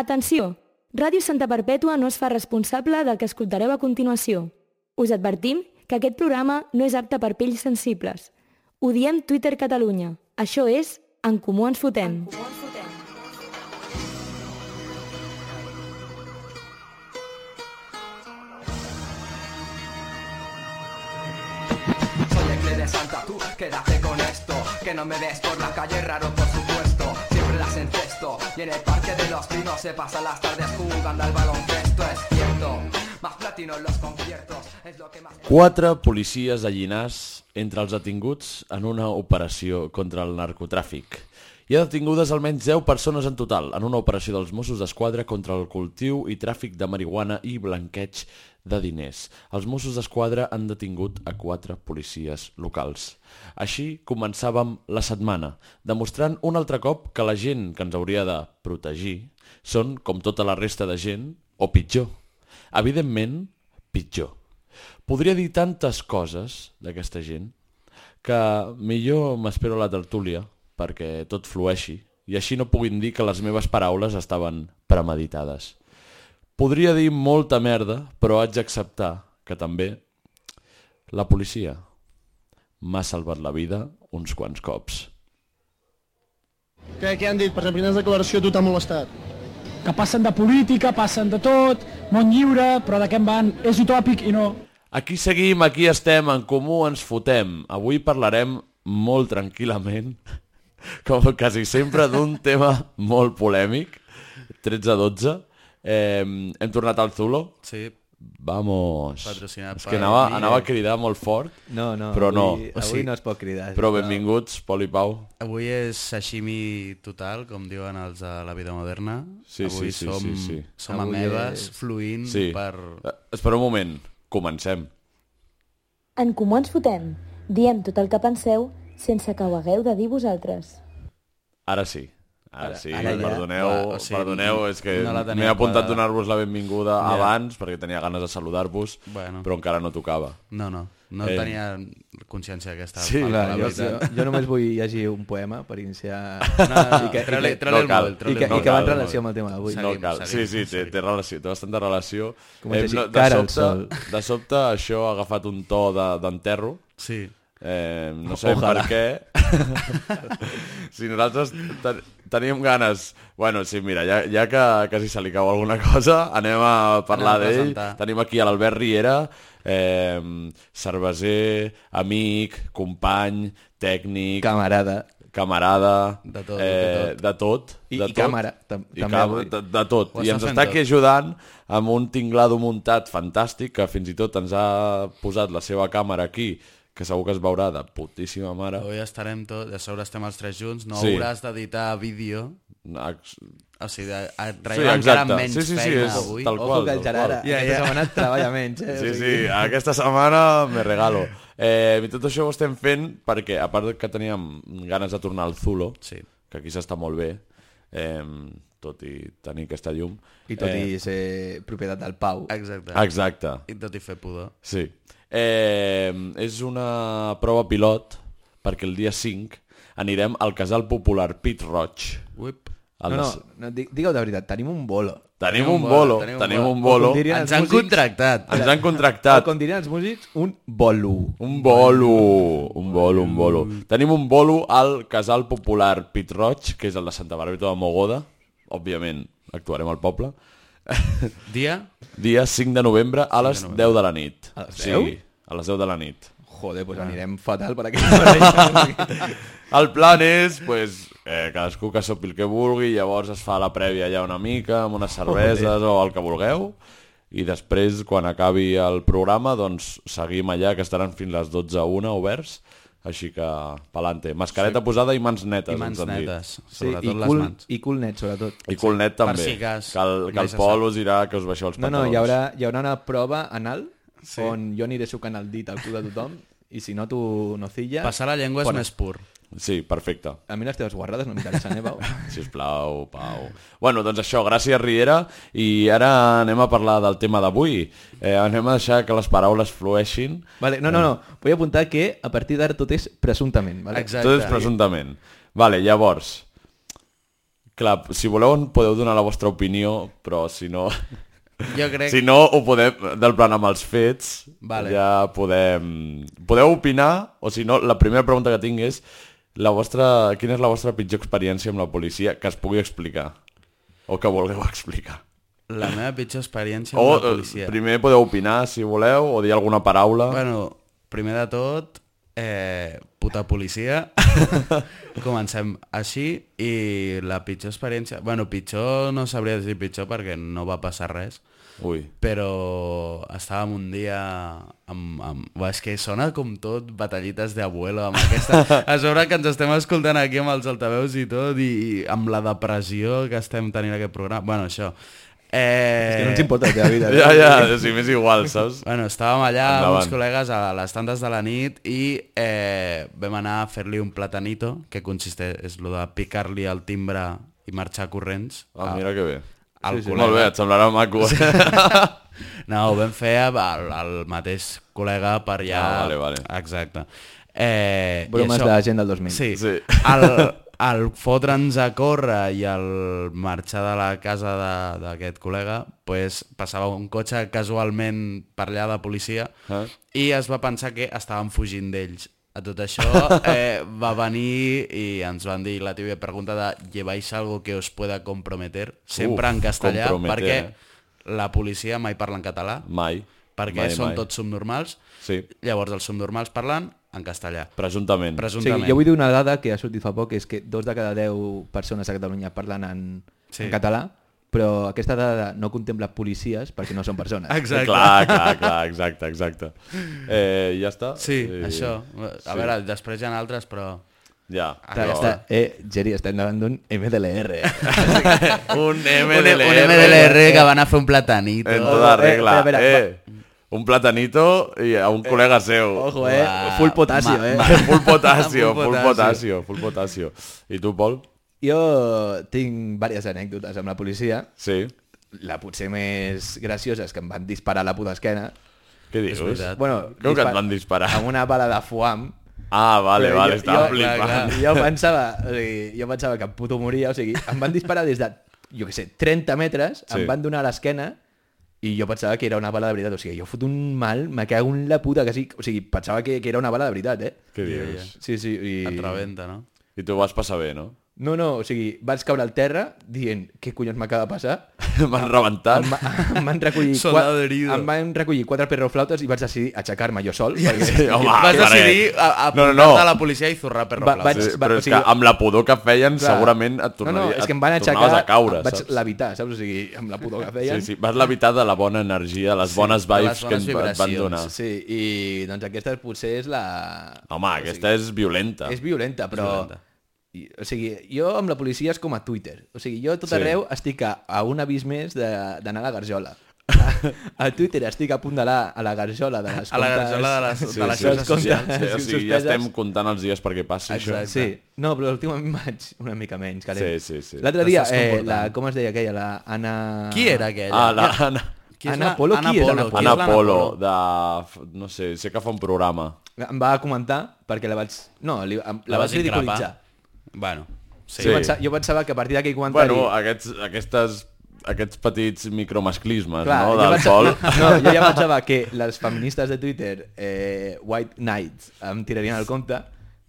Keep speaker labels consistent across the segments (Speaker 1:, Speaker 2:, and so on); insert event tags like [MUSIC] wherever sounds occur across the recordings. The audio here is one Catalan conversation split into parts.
Speaker 1: Atenció! Ràdio Santa Perpètua no es fa responsable del que escoltareu a continuació. Us advertim que aquest programa no és apte per pells sensibles. Ho diem Twitter Catalunya. Això és En Comú Ens Fotem.
Speaker 2: Soy el que de Santa, tú quédate con esto Que no me ves por la calle, raro por supuesto Siempre las encesto Y en el parque de los pinos se pasan las tardes jugando al baloncesto Es cierto, más platino en los conciertos Es lo que más...
Speaker 3: Quatre policies de Llinars entre els detinguts en una operació contra el narcotràfic. Hi ha detingudes almenys 10 persones en total en una operació dels Mossos d'Esquadra contra el cultiu i tràfic de marihuana i blanqueig de diners. Els Mossos d'Esquadra han detingut a quatre policies locals. Així començàvem la setmana, demostrant un altre cop que la gent que ens hauria de protegir són, com tota la resta de gent, o pitjor. Evidentment, pitjor. Podria dir tantes coses d'aquesta gent que millor m'espero a la tertúlia perquè tot flueixi i així no puguin dir que les meves paraules estaven premeditades. Podria dir molta merda, però haig d'acceptar que també la policia m'ha salvat la vida uns quants cops.
Speaker 4: Què, què han dit? Per exemple, quines declaració a tu t'ha molestat?
Speaker 5: que passen de política, passen de tot, món lliure, però de què en van? És utòpic i no.
Speaker 3: Aquí seguim, aquí estem, en comú ens fotem. Avui parlarem molt tranquil·lament, [LAUGHS] com quasi sempre, d'un [LAUGHS] tema molt polèmic, 13-12. Eh, hem tornat al Zulo.
Speaker 6: Sí.
Speaker 3: Vamos.
Speaker 6: Patrocinat
Speaker 3: És que
Speaker 6: per
Speaker 3: anava,
Speaker 6: Kia.
Speaker 3: anava a cridar molt fort,
Speaker 7: No, no,
Speaker 3: però no.
Speaker 7: avui- avui no es pot cridar,
Speaker 3: Però
Speaker 7: sisplau.
Speaker 3: benvinguts, Pol i Pau.
Speaker 6: Avui és sashimi total, com diuen els de la vida moderna.
Speaker 3: Sí,
Speaker 6: Avui
Speaker 3: sí, sí,
Speaker 6: som,
Speaker 3: sí, sí.
Speaker 6: som
Speaker 7: Avui
Speaker 6: amebes
Speaker 7: és-
Speaker 6: fluint
Speaker 3: Sí.
Speaker 6: per...
Speaker 3: Eh, Espera un moment. Comencem.
Speaker 1: En Comú Ens Fotem. Diem tot el que penseu sense que ho hagueu de dir vosaltres.
Speaker 3: Ara sí. Ara, sí,
Speaker 6: ara ja.
Speaker 3: perdoneu,
Speaker 6: Va, o sigui,
Speaker 3: perdoneu, és que
Speaker 6: no la tenia
Speaker 3: m'he apuntat a
Speaker 6: quadrada.
Speaker 3: donar-vos la benvinguda abans perquè tenia ganes de saludar-vos,
Speaker 6: Bueno.
Speaker 3: però encara no tocava.
Speaker 6: No, no, no
Speaker 3: Eh.
Speaker 6: eh. tenia consciència d'aquesta
Speaker 3: Sí,
Speaker 6: falta,
Speaker 3: clar,
Speaker 6: la
Speaker 7: jo, jo,
Speaker 6: veritat.
Speaker 7: jo només vull llegir un poema
Speaker 6: [LAUGHS]
Speaker 7: per iniciar...
Speaker 6: No, no,
Speaker 7: i que,
Speaker 6: treu-li-
Speaker 7: i que,
Speaker 6: treu-li
Speaker 3: no
Speaker 6: el
Speaker 3: cal.
Speaker 6: mòbil, treu-li
Speaker 7: i que,
Speaker 6: el
Speaker 7: i
Speaker 6: mòbil.
Speaker 7: que va en
Speaker 3: no,
Speaker 7: relació amb el tema d'avui.
Speaker 3: No
Speaker 6: Seguim,
Speaker 3: cal, sí,
Speaker 6: seguim,
Speaker 3: sí, té,
Speaker 6: seguim.
Speaker 3: té relació, té bastanta relació.
Speaker 7: Comença així,
Speaker 3: no, de,
Speaker 7: cara al
Speaker 3: sobte,
Speaker 7: sol.
Speaker 3: de sobte això ha agafat un to de- d'enterro,
Speaker 6: Sí,
Speaker 3: eh, no sé Ojalà. per què. [LAUGHS] si nosaltres ten teníem ganes... Bueno, sí, mira, ja, ja que quasi se li cau alguna cosa, anem a parlar
Speaker 6: Anem a
Speaker 3: d'ell.
Speaker 6: presentar.
Speaker 3: Tenim aquí a l'Albert Riera, eh, cerveser, amic, company, tècnic,
Speaker 7: Camarada.
Speaker 3: camarada,
Speaker 6: De tot,
Speaker 3: eh, de tot,
Speaker 7: I-
Speaker 3: de
Speaker 7: i
Speaker 3: tot.
Speaker 7: càmera, tam-
Speaker 3: I
Speaker 7: també
Speaker 3: cam
Speaker 7: avui.
Speaker 3: de, de tot.
Speaker 6: Ho
Speaker 3: I
Speaker 6: està
Speaker 3: ens
Speaker 6: fent
Speaker 3: està aquí
Speaker 6: tot.
Speaker 3: ajudant amb un tinglado muntat fantàstic que fins i tot ens ha posat la seva càmera aquí, que segur que es veurà de putíssima mare.
Speaker 6: avui estarem tots, a sobre estem els tres junts, no
Speaker 3: Sí.
Speaker 6: sí. hauràs d'editar vídeo,
Speaker 3: Ex-
Speaker 6: o sigui, de- a- traiem sí, encara menys
Speaker 3: sí, sí, sí,
Speaker 6: feina
Speaker 3: és
Speaker 6: avui.
Speaker 3: tal
Speaker 7: Ojo
Speaker 3: qual.
Speaker 7: que el
Speaker 3: tal
Speaker 7: Gerard
Speaker 3: qual.
Speaker 7: aquesta yeah, yeah. setmana treballa menys. Eh?
Speaker 3: Sí, sí, aquesta setmana me regalo. Eh, i tot això ho estem fent perquè, a part que teníem ganes de tornar al Zulo,
Speaker 6: Sí.
Speaker 3: que aquí s'està molt bé, eh, tot i tenir aquesta llum. eh,
Speaker 7: I tot i ser propietat del Pau.
Speaker 6: Eh. Exacte.
Speaker 3: Exacte,
Speaker 6: I tot i fer pudor.
Speaker 3: sí. Eh, és una prova pilot perquè el dia 5 anirem al Casal Popular Pit Roig.
Speaker 6: Uip.
Speaker 3: Al
Speaker 7: No, no,
Speaker 3: de-
Speaker 7: no di- digueu de veritat, tenim un bolo.
Speaker 3: Tenim un bolo, tenim un bolo.
Speaker 7: Com diria-
Speaker 6: Ens
Speaker 7: els
Speaker 6: han
Speaker 7: músics-
Speaker 6: contractat.
Speaker 3: Ens han
Speaker 7: O
Speaker 3: contractat.
Speaker 7: com dirien els músics, un bolo.
Speaker 3: Un bolo, un bolo, un bolo. Tenim un bolo al Casal Popular Pit Roig, que és el de Santa Bàrbara de Mogoda. Òbviament, actuarem al poble.
Speaker 6: Dia?
Speaker 3: Dia 5 de novembre a les 10 de la nit.
Speaker 7: A les
Speaker 3: Sí,
Speaker 7: 10?
Speaker 3: a les 10 de la nit.
Speaker 7: Joder,
Speaker 6: Ah.
Speaker 7: doncs anirem fatal
Speaker 6: [LAUGHS]
Speaker 7: per aquest
Speaker 3: El plan és, pues, eh, cadascú que sopi el que vulgui, llavors es fa la prèvia allà una mica, amb unes cerveses o el que vulgueu, i després, quan acabi el programa, doncs seguim allà, que estaran fins les 12 a 1 oberts, així que, pelante. Mascareta sí. posada i mans netes,
Speaker 6: I
Speaker 3: ens
Speaker 6: mans
Speaker 3: han dit.
Speaker 6: netes,
Speaker 7: sí,
Speaker 6: sobretot
Speaker 7: i,
Speaker 6: les
Speaker 7: cul,
Speaker 6: mans.
Speaker 7: I cul net, sobretot.
Speaker 3: I cul net també.
Speaker 6: si cas,
Speaker 3: que el, que
Speaker 6: mai
Speaker 3: el
Speaker 6: se
Speaker 3: Pol
Speaker 6: sap.
Speaker 3: us dirà que us baixeu els
Speaker 7: No, no,
Speaker 3: pantalons.
Speaker 7: hi haurà, hi haurà una prova anal sí. on jo aniré sucant el dit al cul de tothom i si noto nocilla...
Speaker 6: Passar la llengua és
Speaker 7: Fora.
Speaker 6: més pur.
Speaker 3: Sí, perfecte.
Speaker 7: A mi les teves guardades no m'interessen, eh, Pau? [LAUGHS]
Speaker 3: Sisplau, Pau. Bueno, doncs això, gràcies Riera. I ara anem a parlar del tema d'avui. Eh, anem a deixar que les paraules flueixin.
Speaker 7: Vale, no, no, no. Vull apuntar que a partir d'ara tot és presumptament. Vale?
Speaker 6: Exacte.
Speaker 3: Tot és presumptament. Vale, llavors, Clar, si voleu en podeu donar la vostra opinió, però si no...
Speaker 6: Jo crec...
Speaker 3: Si no, ho podem, del plan amb els fets,
Speaker 6: Vale.
Speaker 3: ja podem... Podeu opinar, o si no, la primera pregunta que tinc és la vostra, quina és la vostra pitjor experiència amb la policia que es pugui explicar, o que vulgueu explicar.
Speaker 6: La meva pitjor experiència amb
Speaker 3: O
Speaker 6: la
Speaker 3: eh,
Speaker 6: policia.
Speaker 3: primer podeu opinar, si voleu, o dir alguna paraula.
Speaker 6: Bueno, primer de tot, eh, puta
Speaker 7: [LAUGHS]
Speaker 6: policia. Comencem així. I la pitjor experiència... Bueno, pitjor no sabria dir pitjor perquè no va passar res.
Speaker 3: Ui.
Speaker 6: Però estàvem un dia amb, amb... Buah, És que sona com tot batallites d'abuelo amb
Speaker 7: [LAUGHS]
Speaker 6: aquesta... A sobre que ens estem escoltant aquí amb els altaveus i tot i, i amb la depressió que estem tenint aquest programa. Bueno, això... Eh...
Speaker 7: És que no ens importa la teva
Speaker 6: [LAUGHS]
Speaker 7: vida.
Speaker 3: Ja, ja, si m'és igual, saps?
Speaker 6: Bueno, estàvem allà amb
Speaker 3: Endavant.
Speaker 6: uns col·legues a les tantes de la nit i eh, vam anar a fer-li un platanito, que consiste, és lo de picar-li el timbre i marxar corrents.
Speaker 3: Ah, mira que bé.
Speaker 6: al
Speaker 3: Sí, sí.
Speaker 6: col·lega.
Speaker 3: Molt bé, et semblarà maco. Sí.
Speaker 6: [LAUGHS] No, ho vam fer al, al mateix col·lega per allà...
Speaker 3: Ah, vale, vale.
Speaker 6: Exacte. Eh, i
Speaker 7: Bromes
Speaker 6: això-
Speaker 7: de la gent del 2000.
Speaker 6: Sí. sí.
Speaker 3: Sí.
Speaker 6: El, el fotre'ns a córrer i el marxar de la casa de- d'aquest col·lega, pues, passava un cotxe casualment per allà de policia
Speaker 3: Ah.
Speaker 6: i es va pensar que estàvem fugint d'ells. A tot
Speaker 3: [LAUGHS]
Speaker 6: això eh, va venir i ens van dir la teva pregunta de lleváis algo que os pueda comprometer,
Speaker 3: Uf,
Speaker 6: sempre en castellà,
Speaker 3: comprometer, eh?
Speaker 6: perquè la policia mai parla en català,
Speaker 3: Mai.
Speaker 6: perquè
Speaker 3: mai,
Speaker 6: són
Speaker 3: mai.
Speaker 6: tots subnormals,
Speaker 3: Sí,
Speaker 6: llavors els subnormals parlen en castellà.
Speaker 3: presumptament.
Speaker 7: O sigui,
Speaker 6: Presumptament.
Speaker 7: jo vull dir una dada que ha sortit fa poc, que és que dos de cada deu persones a Catalunya parlen en,
Speaker 6: Sí.
Speaker 7: sí. en català, però aquesta dada no contempla policies perquè no són persones.
Speaker 3: Exacte. Eh, Clar, clar, clar, exacte, exacte. Eh, ja està?
Speaker 6: Sí,
Speaker 3: Eh,
Speaker 6: això. Ah, A veure, després hi ha altres, però...
Speaker 3: Ja.
Speaker 7: Està, està, eh, Geri, estem davant d'un MDLR.
Speaker 3: [LAUGHS] Un
Speaker 6: Un E
Speaker 3: eh?
Speaker 6: MDLR que van a fer un platanito.
Speaker 3: En tota regla.
Speaker 7: espera, espera,
Speaker 3: eh, un platanito i a un col·lega seu.
Speaker 7: Ojo, eh?
Speaker 6: [LAUGHS] Uah,
Speaker 7: Full potassi,
Speaker 6: ma-
Speaker 7: eh?
Speaker 6: ma-
Speaker 3: Full potasio,
Speaker 6: [LAUGHS] Full
Speaker 3: full
Speaker 6: potasio.
Speaker 3: potasio, full potasio. I tu, Pol?
Speaker 7: [LAUGHS] Jo tinc diverses anècdotes amb la policia.
Speaker 3: Sí.
Speaker 7: La potser més graciosa és que em van disparar a la puta esquena.
Speaker 3: Què dius?
Speaker 6: veritat.
Speaker 7: Bueno,
Speaker 3: Creu que et
Speaker 7: dispar-
Speaker 3: van disparar.
Speaker 7: Amb una bala de foam.
Speaker 3: Ah, vale,
Speaker 7: Però
Speaker 3: vale,
Speaker 7: jo-
Speaker 3: estava
Speaker 7: jo-
Speaker 3: flipant.
Speaker 7: Jo pensava, o sigui, jo pensava que em puto moria, o sigui, em van disparar des de, jo què sé, 30 metres, sí.
Speaker 3: Sí.
Speaker 7: em van donar a l'esquena i jo pensava que era una bala de veritat, o sigui, jo fot un mal, me cago en la puta, que sí, o sigui, pensava que, que era una bala de veritat, eh?
Speaker 3: Què dius?
Speaker 7: Sí, sí, i...
Speaker 6: Et rebenta, no?
Speaker 3: I tu ho vas passar bé, no? [LAUGHS]
Speaker 7: No, no, o sigui, vaig caure al terra dient, què collons m'acaba de passar?
Speaker 3: M'han rebentat.
Speaker 7: Em, va- em van recollir...
Speaker 6: Soldado
Speaker 7: qua-
Speaker 6: herido.
Speaker 7: Em van recollir quatre perroflautes i vaig decidir aixecar-me jo sol. Perquè...
Speaker 3: Sí, home,
Speaker 6: Vas
Speaker 3: clar que-
Speaker 6: decidir a- a
Speaker 3: Ah, No, no,
Speaker 6: apuntar-te
Speaker 3: no.
Speaker 6: a la policia i zurrar perro
Speaker 7: Va-
Speaker 6: blau.
Speaker 7: vaig-
Speaker 3: Sí, però
Speaker 7: o
Speaker 3: és
Speaker 7: sigui-
Speaker 3: que amb la pudor que feien
Speaker 7: Clar.
Speaker 3: segurament et tornaria...
Speaker 7: No, no, és que em van
Speaker 3: et
Speaker 7: aixecar...
Speaker 3: tornaves a caure,
Speaker 7: vaig
Speaker 3: saps?
Speaker 7: levitar, saps? O sigui, amb la pudor que feien.
Speaker 3: Sí, sí, vas levitar de la bona energia, les sí, bones
Speaker 6: de les
Speaker 3: vibes que
Speaker 6: bones
Speaker 3: ens va- et van donar.
Speaker 6: vibracions.
Speaker 7: Sí, i doncs aquesta potser és la...
Speaker 3: Home, aquesta és violenta.
Speaker 7: És violenta, però...
Speaker 6: violenta.
Speaker 7: I, o sigui, jo amb la policia és com a Twitter. O sigui, jo a tot
Speaker 3: Sí.
Speaker 7: sí. arreu estic a, a un avís més de- d'anar a la
Speaker 3: [LAUGHS]
Speaker 7: garjola. A, a Twitter estic a punt d'anar a la garjola de les
Speaker 6: A la
Speaker 7: comptes-
Speaker 6: garjola de les- de les
Speaker 7: dels
Speaker 6: xarxes
Speaker 7: comptes
Speaker 6: socials.
Speaker 3: Sí, o sigui, ja
Speaker 7: suspeses.
Speaker 3: estem comptant els dies perquè passi
Speaker 7: Exacte.
Speaker 3: això.
Speaker 7: Sí. No, però últimament vaig una mica menys,
Speaker 3: Sí,
Speaker 7: calent.
Speaker 3: sí, sí.
Speaker 7: L'altre dia,
Speaker 6: T'estàs
Speaker 7: eh,
Speaker 6: comportant.
Speaker 7: la, com es deia aquella? La Anna...
Speaker 6: Qui era aquella?
Speaker 3: Ah, la Anna,
Speaker 6: Qui és
Speaker 7: Anna
Speaker 6: la-
Speaker 7: Polo, qui és Anna
Speaker 6: Polo? Qui
Speaker 3: Anna
Speaker 6: és l'Anna
Speaker 3: Polo, de... f- No sé, sé que fa un programa.
Speaker 7: Em va comentar perquè la vaig... No, li, em- la,
Speaker 6: La
Speaker 7: la
Speaker 6: vas
Speaker 7: vaig ridiculitzar.
Speaker 6: increpar? Bueno, sí.
Speaker 7: Sí. Jo, pensava, jo pensava que a partir d'aquell comentari...
Speaker 3: Bueno, aquests, aquestes, aquests petits micromasclismes,
Speaker 7: Clar,
Speaker 3: no?,
Speaker 7: jo
Speaker 3: del
Speaker 7: vaig-
Speaker 3: Pol.
Speaker 7: [LAUGHS] No, jo ja pensava que les feministes de Twitter, eh, White Knights, em tirarien al compte,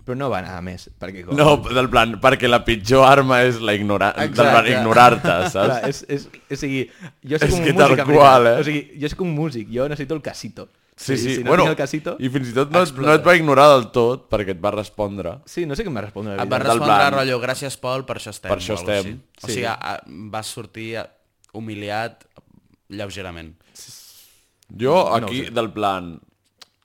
Speaker 7: però no va anar a més, perquè... Com...
Speaker 3: No, del plan, perquè la pitjor arma és la ignorar... del plan,
Speaker 7: Exacte.
Speaker 3: ignorar-te,
Speaker 7: Clar,
Speaker 3: saps?
Speaker 7: és, és, o sigui, jo soc
Speaker 3: És que
Speaker 7: un músic,
Speaker 3: tal
Speaker 7: en veritat.
Speaker 3: qual, eh?
Speaker 7: O sigui, jo soc un músic, jo necessito el casito.
Speaker 3: Sí, sí,
Speaker 7: Si no
Speaker 3: bueno,
Speaker 7: tinc el casito...
Speaker 3: i fins i tot no et, no et va ignorar del tot, perquè et va respondre.
Speaker 7: Sí, no sé què em va respondre. la
Speaker 6: Et va
Speaker 7: veritat.
Speaker 3: del
Speaker 6: respondre,
Speaker 3: blanc.
Speaker 6: rotllo, gràcies, Pol, per això estem.
Speaker 3: Per això
Speaker 6: o alguna cosa
Speaker 3: estem.
Speaker 6: així. O sigui, a- a- vas sortir a- humiliat lleugerament.
Speaker 3: Jo aquí, no del plan...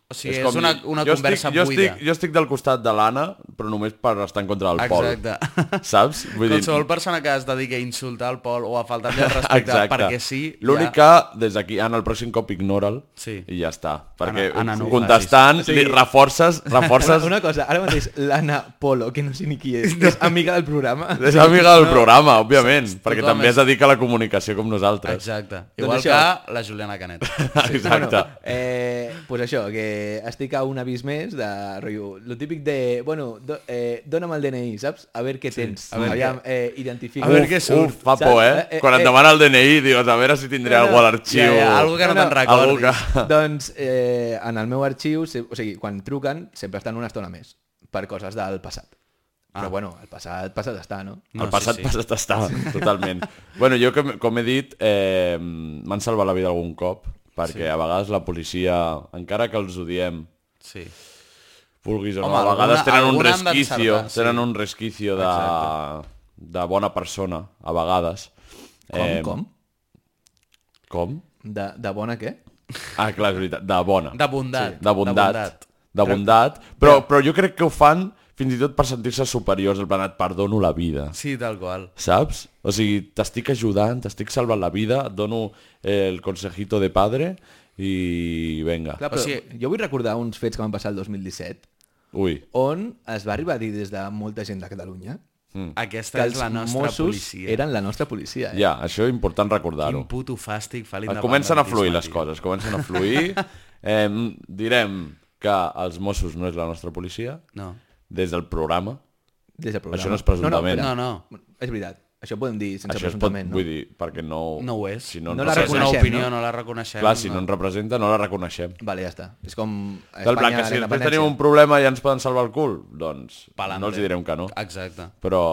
Speaker 6: O sigui,
Speaker 3: com
Speaker 6: és una-
Speaker 3: dir,
Speaker 6: una
Speaker 3: jo
Speaker 6: conversa
Speaker 3: estic, jo
Speaker 6: buida.
Speaker 3: Estic, jo estic del costat de l'Anna, però només per estar en contra del Pol.
Speaker 6: Exacte.
Speaker 3: Saps?
Speaker 6: Vull Qualsevol dir... persona que es dediqui a insultar el Pol o a faltar-li el
Speaker 3: [LAUGHS]
Speaker 6: respecte
Speaker 3: Exacte.
Speaker 6: perquè sí...
Speaker 3: L'únic
Speaker 6: ja...
Speaker 3: que, des d'aquí, Anna, el pròxim cop ignora'l
Speaker 6: Sí.
Speaker 3: i ja està. Perquè
Speaker 6: Anna, no ho
Speaker 3: contestant, li
Speaker 6: [LAUGHS]
Speaker 3: reforces,
Speaker 7: Una,
Speaker 3: reforces...
Speaker 7: una cosa, ara mateix l'Anna Polo, que no sé ni qui és, que és amiga del programa.
Speaker 3: És amiga del programa, òbviament, perquè
Speaker 6: tothom
Speaker 3: també
Speaker 6: és-
Speaker 3: es dedica a la comunicació com [LAUGHS] nosaltres.
Speaker 6: Exacte.
Speaker 7: Doncs
Speaker 6: Igual
Speaker 7: això.
Speaker 3: [LAUGHS]
Speaker 6: que la Juliana Canet.
Speaker 3: Exacte.
Speaker 7: Bueno, eh, pues això, que eh, estic a un avís més de rotllo, lo típic de, bueno, do, eh, dona'm el DNI, saps? A veure què sí, tens. A
Speaker 6: veure
Speaker 7: Aviam, eh, identifica.
Speaker 6: A veure què surt.
Speaker 3: Uf, fa por, eh? eh? Quan et demana el DNI, dius, a veure si tindré algú a l'arxiu.
Speaker 6: Ja, ja, algú que no te'n
Speaker 3: Algú
Speaker 6: recordis.
Speaker 3: que-
Speaker 7: [LAUGHS] Doncs eh, en el meu arxiu, se- o sigui, quan truquen, sempre estan una estona més per coses del passat. Ah. Però bueno, el passat, passat està, no?
Speaker 3: No, el passat sí, sí. passat està,
Speaker 6: [LAUGHS]
Speaker 3: totalment. bueno, jo, com, com he dit, eh, m'han salvat la vida algun cop, perquè sí. a vegades la policia, encara que els odiem,
Speaker 6: Sí.
Speaker 3: vulguis o
Speaker 6: Home,
Speaker 3: no, a
Speaker 6: alguna-
Speaker 3: vegades tenen un
Speaker 6: alguna han
Speaker 3: resquicio,
Speaker 6: d'encertar, sí.
Speaker 3: tenen un resquicio de, de bona persona, a vegades.
Speaker 7: Com, com?
Speaker 3: Com?
Speaker 7: De, de bona què?
Speaker 3: Ah, clar, és veritat, de bona.
Speaker 6: De bondat.
Speaker 3: De bondat. De bondat. Però, però jo crec que ho fan fins i tot per sentir-se superiors, el plan, et perdono la vida.
Speaker 6: Sí, tal qual.
Speaker 3: Saps? O sigui, t'estic ajudant, t'estic salvant la vida, et dono eh, el consejito de padre i venga.
Speaker 7: Clar,
Speaker 6: O
Speaker 7: però o
Speaker 6: sigui-
Speaker 7: sigui... jo vull recordar uns fets que van passar el 2017,
Speaker 3: Ui,
Speaker 7: on es va arribar a dir des de molta gent de Catalunya
Speaker 3: Mm.
Speaker 6: Aquesta
Speaker 7: que
Speaker 6: és
Speaker 7: els
Speaker 6: la nostra
Speaker 7: Mossos
Speaker 6: policia.
Speaker 7: eren la nostra policia. Eh?
Speaker 3: ja, això és important
Speaker 6: Quin
Speaker 3: recordar-ho.
Speaker 6: puto fàstic fa
Speaker 3: Et
Speaker 6: l'independentisme.
Speaker 3: Comencen a fluir les
Speaker 6: tio.
Speaker 3: coses, comencen a
Speaker 6: [LAUGHS]
Speaker 3: fluir. Eh, direm que els Mossos no és la nostra policia,
Speaker 6: No.
Speaker 3: des del programa.
Speaker 7: Des del programa.
Speaker 3: Això no és presumptament.
Speaker 6: No,
Speaker 7: No, no,
Speaker 6: no.
Speaker 7: no, és veritat. Això ho podem dir sense
Speaker 3: Això es pot,
Speaker 7: presumptament, no?
Speaker 3: vull dir, perquè no...
Speaker 6: No ho és.
Speaker 3: Si no,
Speaker 7: No
Speaker 3: ens
Speaker 7: la
Speaker 6: O sigui, és una
Speaker 3: representa-
Speaker 7: reconeixem,
Speaker 6: opinió,
Speaker 7: no?
Speaker 6: no, la reconeixem.
Speaker 3: Clar, si no ens representa, no la reconeixem.
Speaker 7: Vale, ja està. És com a
Speaker 3: Del plan, que
Speaker 7: Espanya, la
Speaker 3: si després
Speaker 7: independència.
Speaker 3: tenim un problema i ens poden salvar el cul, doncs
Speaker 6: Palante.
Speaker 3: no els hi direm que no.
Speaker 6: Exacte.
Speaker 3: Però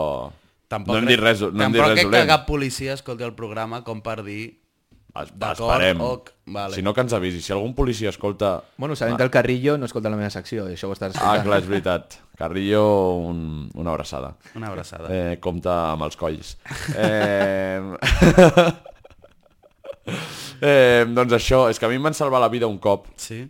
Speaker 3: no hem dit res, no hem dit
Speaker 6: tampoc
Speaker 3: res
Speaker 6: crec que
Speaker 3: dolent.
Speaker 6: cap policia escolti el programa com per dir...
Speaker 3: Es-
Speaker 6: D'acord,
Speaker 3: Esperem.
Speaker 6: ok, vale.
Speaker 3: Si no, que ens avisi. Si algun policia escolta...
Speaker 7: Bueno, sabem que el Carrillo no escolta la meva secció, i això ho estàs
Speaker 3: Ah,
Speaker 7: escoltant.
Speaker 3: clar, és veritat. Carrillo, un, una abraçada.
Speaker 6: Una abraçada. Eh.
Speaker 3: Eh, compta amb els
Speaker 7: [LAUGHS]
Speaker 3: colls. Eh... eh, doncs això, és que a mi [LAUGHS] em van salvar la vida un cop
Speaker 6: Sí?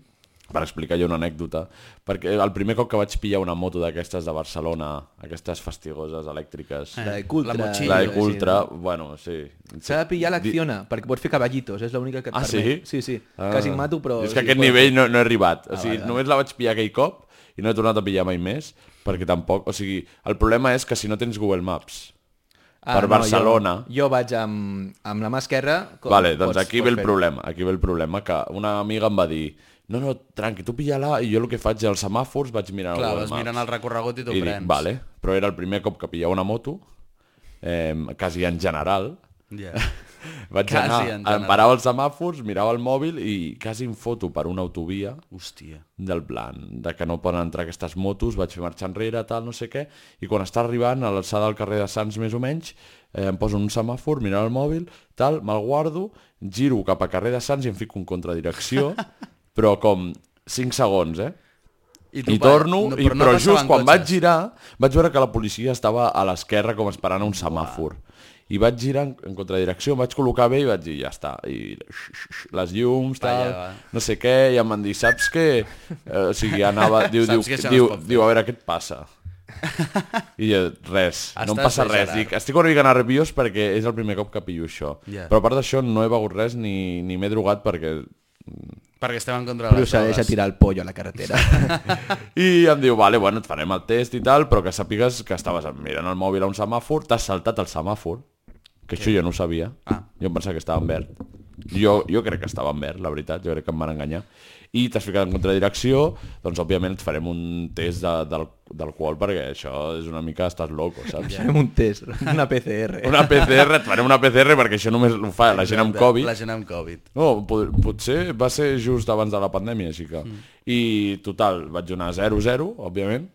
Speaker 3: per explicar jo una anècdota, perquè el primer cop que vaig pillar una moto d'aquestes de Barcelona, aquestes fastigoses elèctriques,
Speaker 7: La de Cultra.
Speaker 6: La motxilla.
Speaker 3: Ah, la
Speaker 6: sí,
Speaker 3: de Cultra, bueno, sí.
Speaker 7: S'ha de pillar l'acciona, perquè pots fer caballitos, és l'única que et
Speaker 3: Ah, sí?
Speaker 7: permet. Sí, sí. Quasi em mato, però...
Speaker 3: És que
Speaker 7: sí,
Speaker 3: aquest
Speaker 7: pots-
Speaker 3: nivell no, no he arribat. O
Speaker 7: Ah,
Speaker 3: sigui,
Speaker 7: vale, vale.
Speaker 3: només la vaig pillar aquell cop i no he tornat a pillar mai més, perquè tampoc... O sigui, el problema és que si no tens Google Maps
Speaker 7: Ah,
Speaker 3: per Barcelona...
Speaker 7: Jo, jo vaig amb, amb la mà esquerra... com-
Speaker 3: Vale, doncs
Speaker 7: pots-
Speaker 3: aquí
Speaker 7: pots
Speaker 3: ve el
Speaker 7: fer-ho.
Speaker 3: problema, aquí ve el problema, que una amiga em va dir no, no, tranqui, tu pilla-la, i jo el que faig als semàfors vaig mirant el
Speaker 6: Clar,
Speaker 3: Google
Speaker 6: vas
Speaker 3: Maps.
Speaker 6: mirant el recorregut i t'ho
Speaker 3: I dic,
Speaker 6: prens.
Speaker 3: vale, però era el primer cop que pillava una moto, eh, quasi en general, [LAUGHS]
Speaker 6: Ja.
Speaker 3: vaig
Speaker 6: Quasi
Speaker 3: anar,
Speaker 6: en
Speaker 3: em
Speaker 6: general.
Speaker 3: parava els semàfors, mirava el mòbil i quasi em foto per una autovia
Speaker 6: Hòstia.
Speaker 3: del plan, de que no poden entrar aquestes motos, vaig fer marxa enrere, tal, no sé què, i quan està arribant a l'alçada del carrer de Sants més o menys, eh, em poso en un semàfor, mirant el mòbil, tal, me'l guardo, giro cap a carrer de Sants i em fico en contradirecció, però com 5 segons, eh? I
Speaker 6: pa-
Speaker 3: torno, no,
Speaker 6: no,
Speaker 3: però, i, però,
Speaker 6: passaven
Speaker 3: just quan
Speaker 6: cotxes.
Speaker 3: vaig girar vaig veure que la policia estava a l'esquerra com esperant a un semàfor. I vaig girar en, en contradirecció, em vaig col·locar bé i vaig dir, ja està. I x, x, x, les llums, tal,
Speaker 6: Allà va.
Speaker 3: no sé què, i em van dir, saps què? Eh, o sigui,
Speaker 6: [LAUGHS]
Speaker 3: anava... Diu,
Speaker 6: Saps
Speaker 3: diu,
Speaker 6: que això no
Speaker 3: diu,
Speaker 6: es pot fer.
Speaker 3: diu, a veure, què et
Speaker 6: [LAUGHS]
Speaker 3: passa? I jo, res, no em
Speaker 6: Estàs
Speaker 3: passa
Speaker 6: bé,
Speaker 3: res.
Speaker 6: Gerard.
Speaker 3: Dic, estic una mica nerviós perquè és el primer cop que pillo això.
Speaker 6: Ja.
Speaker 3: Però a part d'això no he begut res ni, ni m'he drogat perquè
Speaker 6: Perquè estem en contra de les
Speaker 7: Procedeix a
Speaker 6: drogues.
Speaker 7: tirar el pollo a la
Speaker 3: [LAUGHS]
Speaker 7: carretera.
Speaker 3: I em diu, vale, bueno, et farem el test i tal, però que sàpigues que estaves mirant el mòbil a un semàfor, t'has saltat el semàfor, que això jo no ho sabia.
Speaker 6: Ah.
Speaker 3: Jo em pensava que estava en verd. Jo, jo crec que estava en verd, la veritat, jo crec que em van enganyar. I t'has ficat en contradirecció, doncs òbviament et farem un test de, del, del qual, perquè això és una mica, estàs loco, saps?
Speaker 7: Fem un test, una PCR.
Speaker 3: Una PCR, et farem una PCR perquè això només ho fa la gent amb
Speaker 6: Exacte,
Speaker 3: Covid.
Speaker 6: La gent amb Covid.
Speaker 3: No, pot, potser va ser just abans de la pandèmia, així que... Mm. I, total, vaig donar 0-0, òbviament,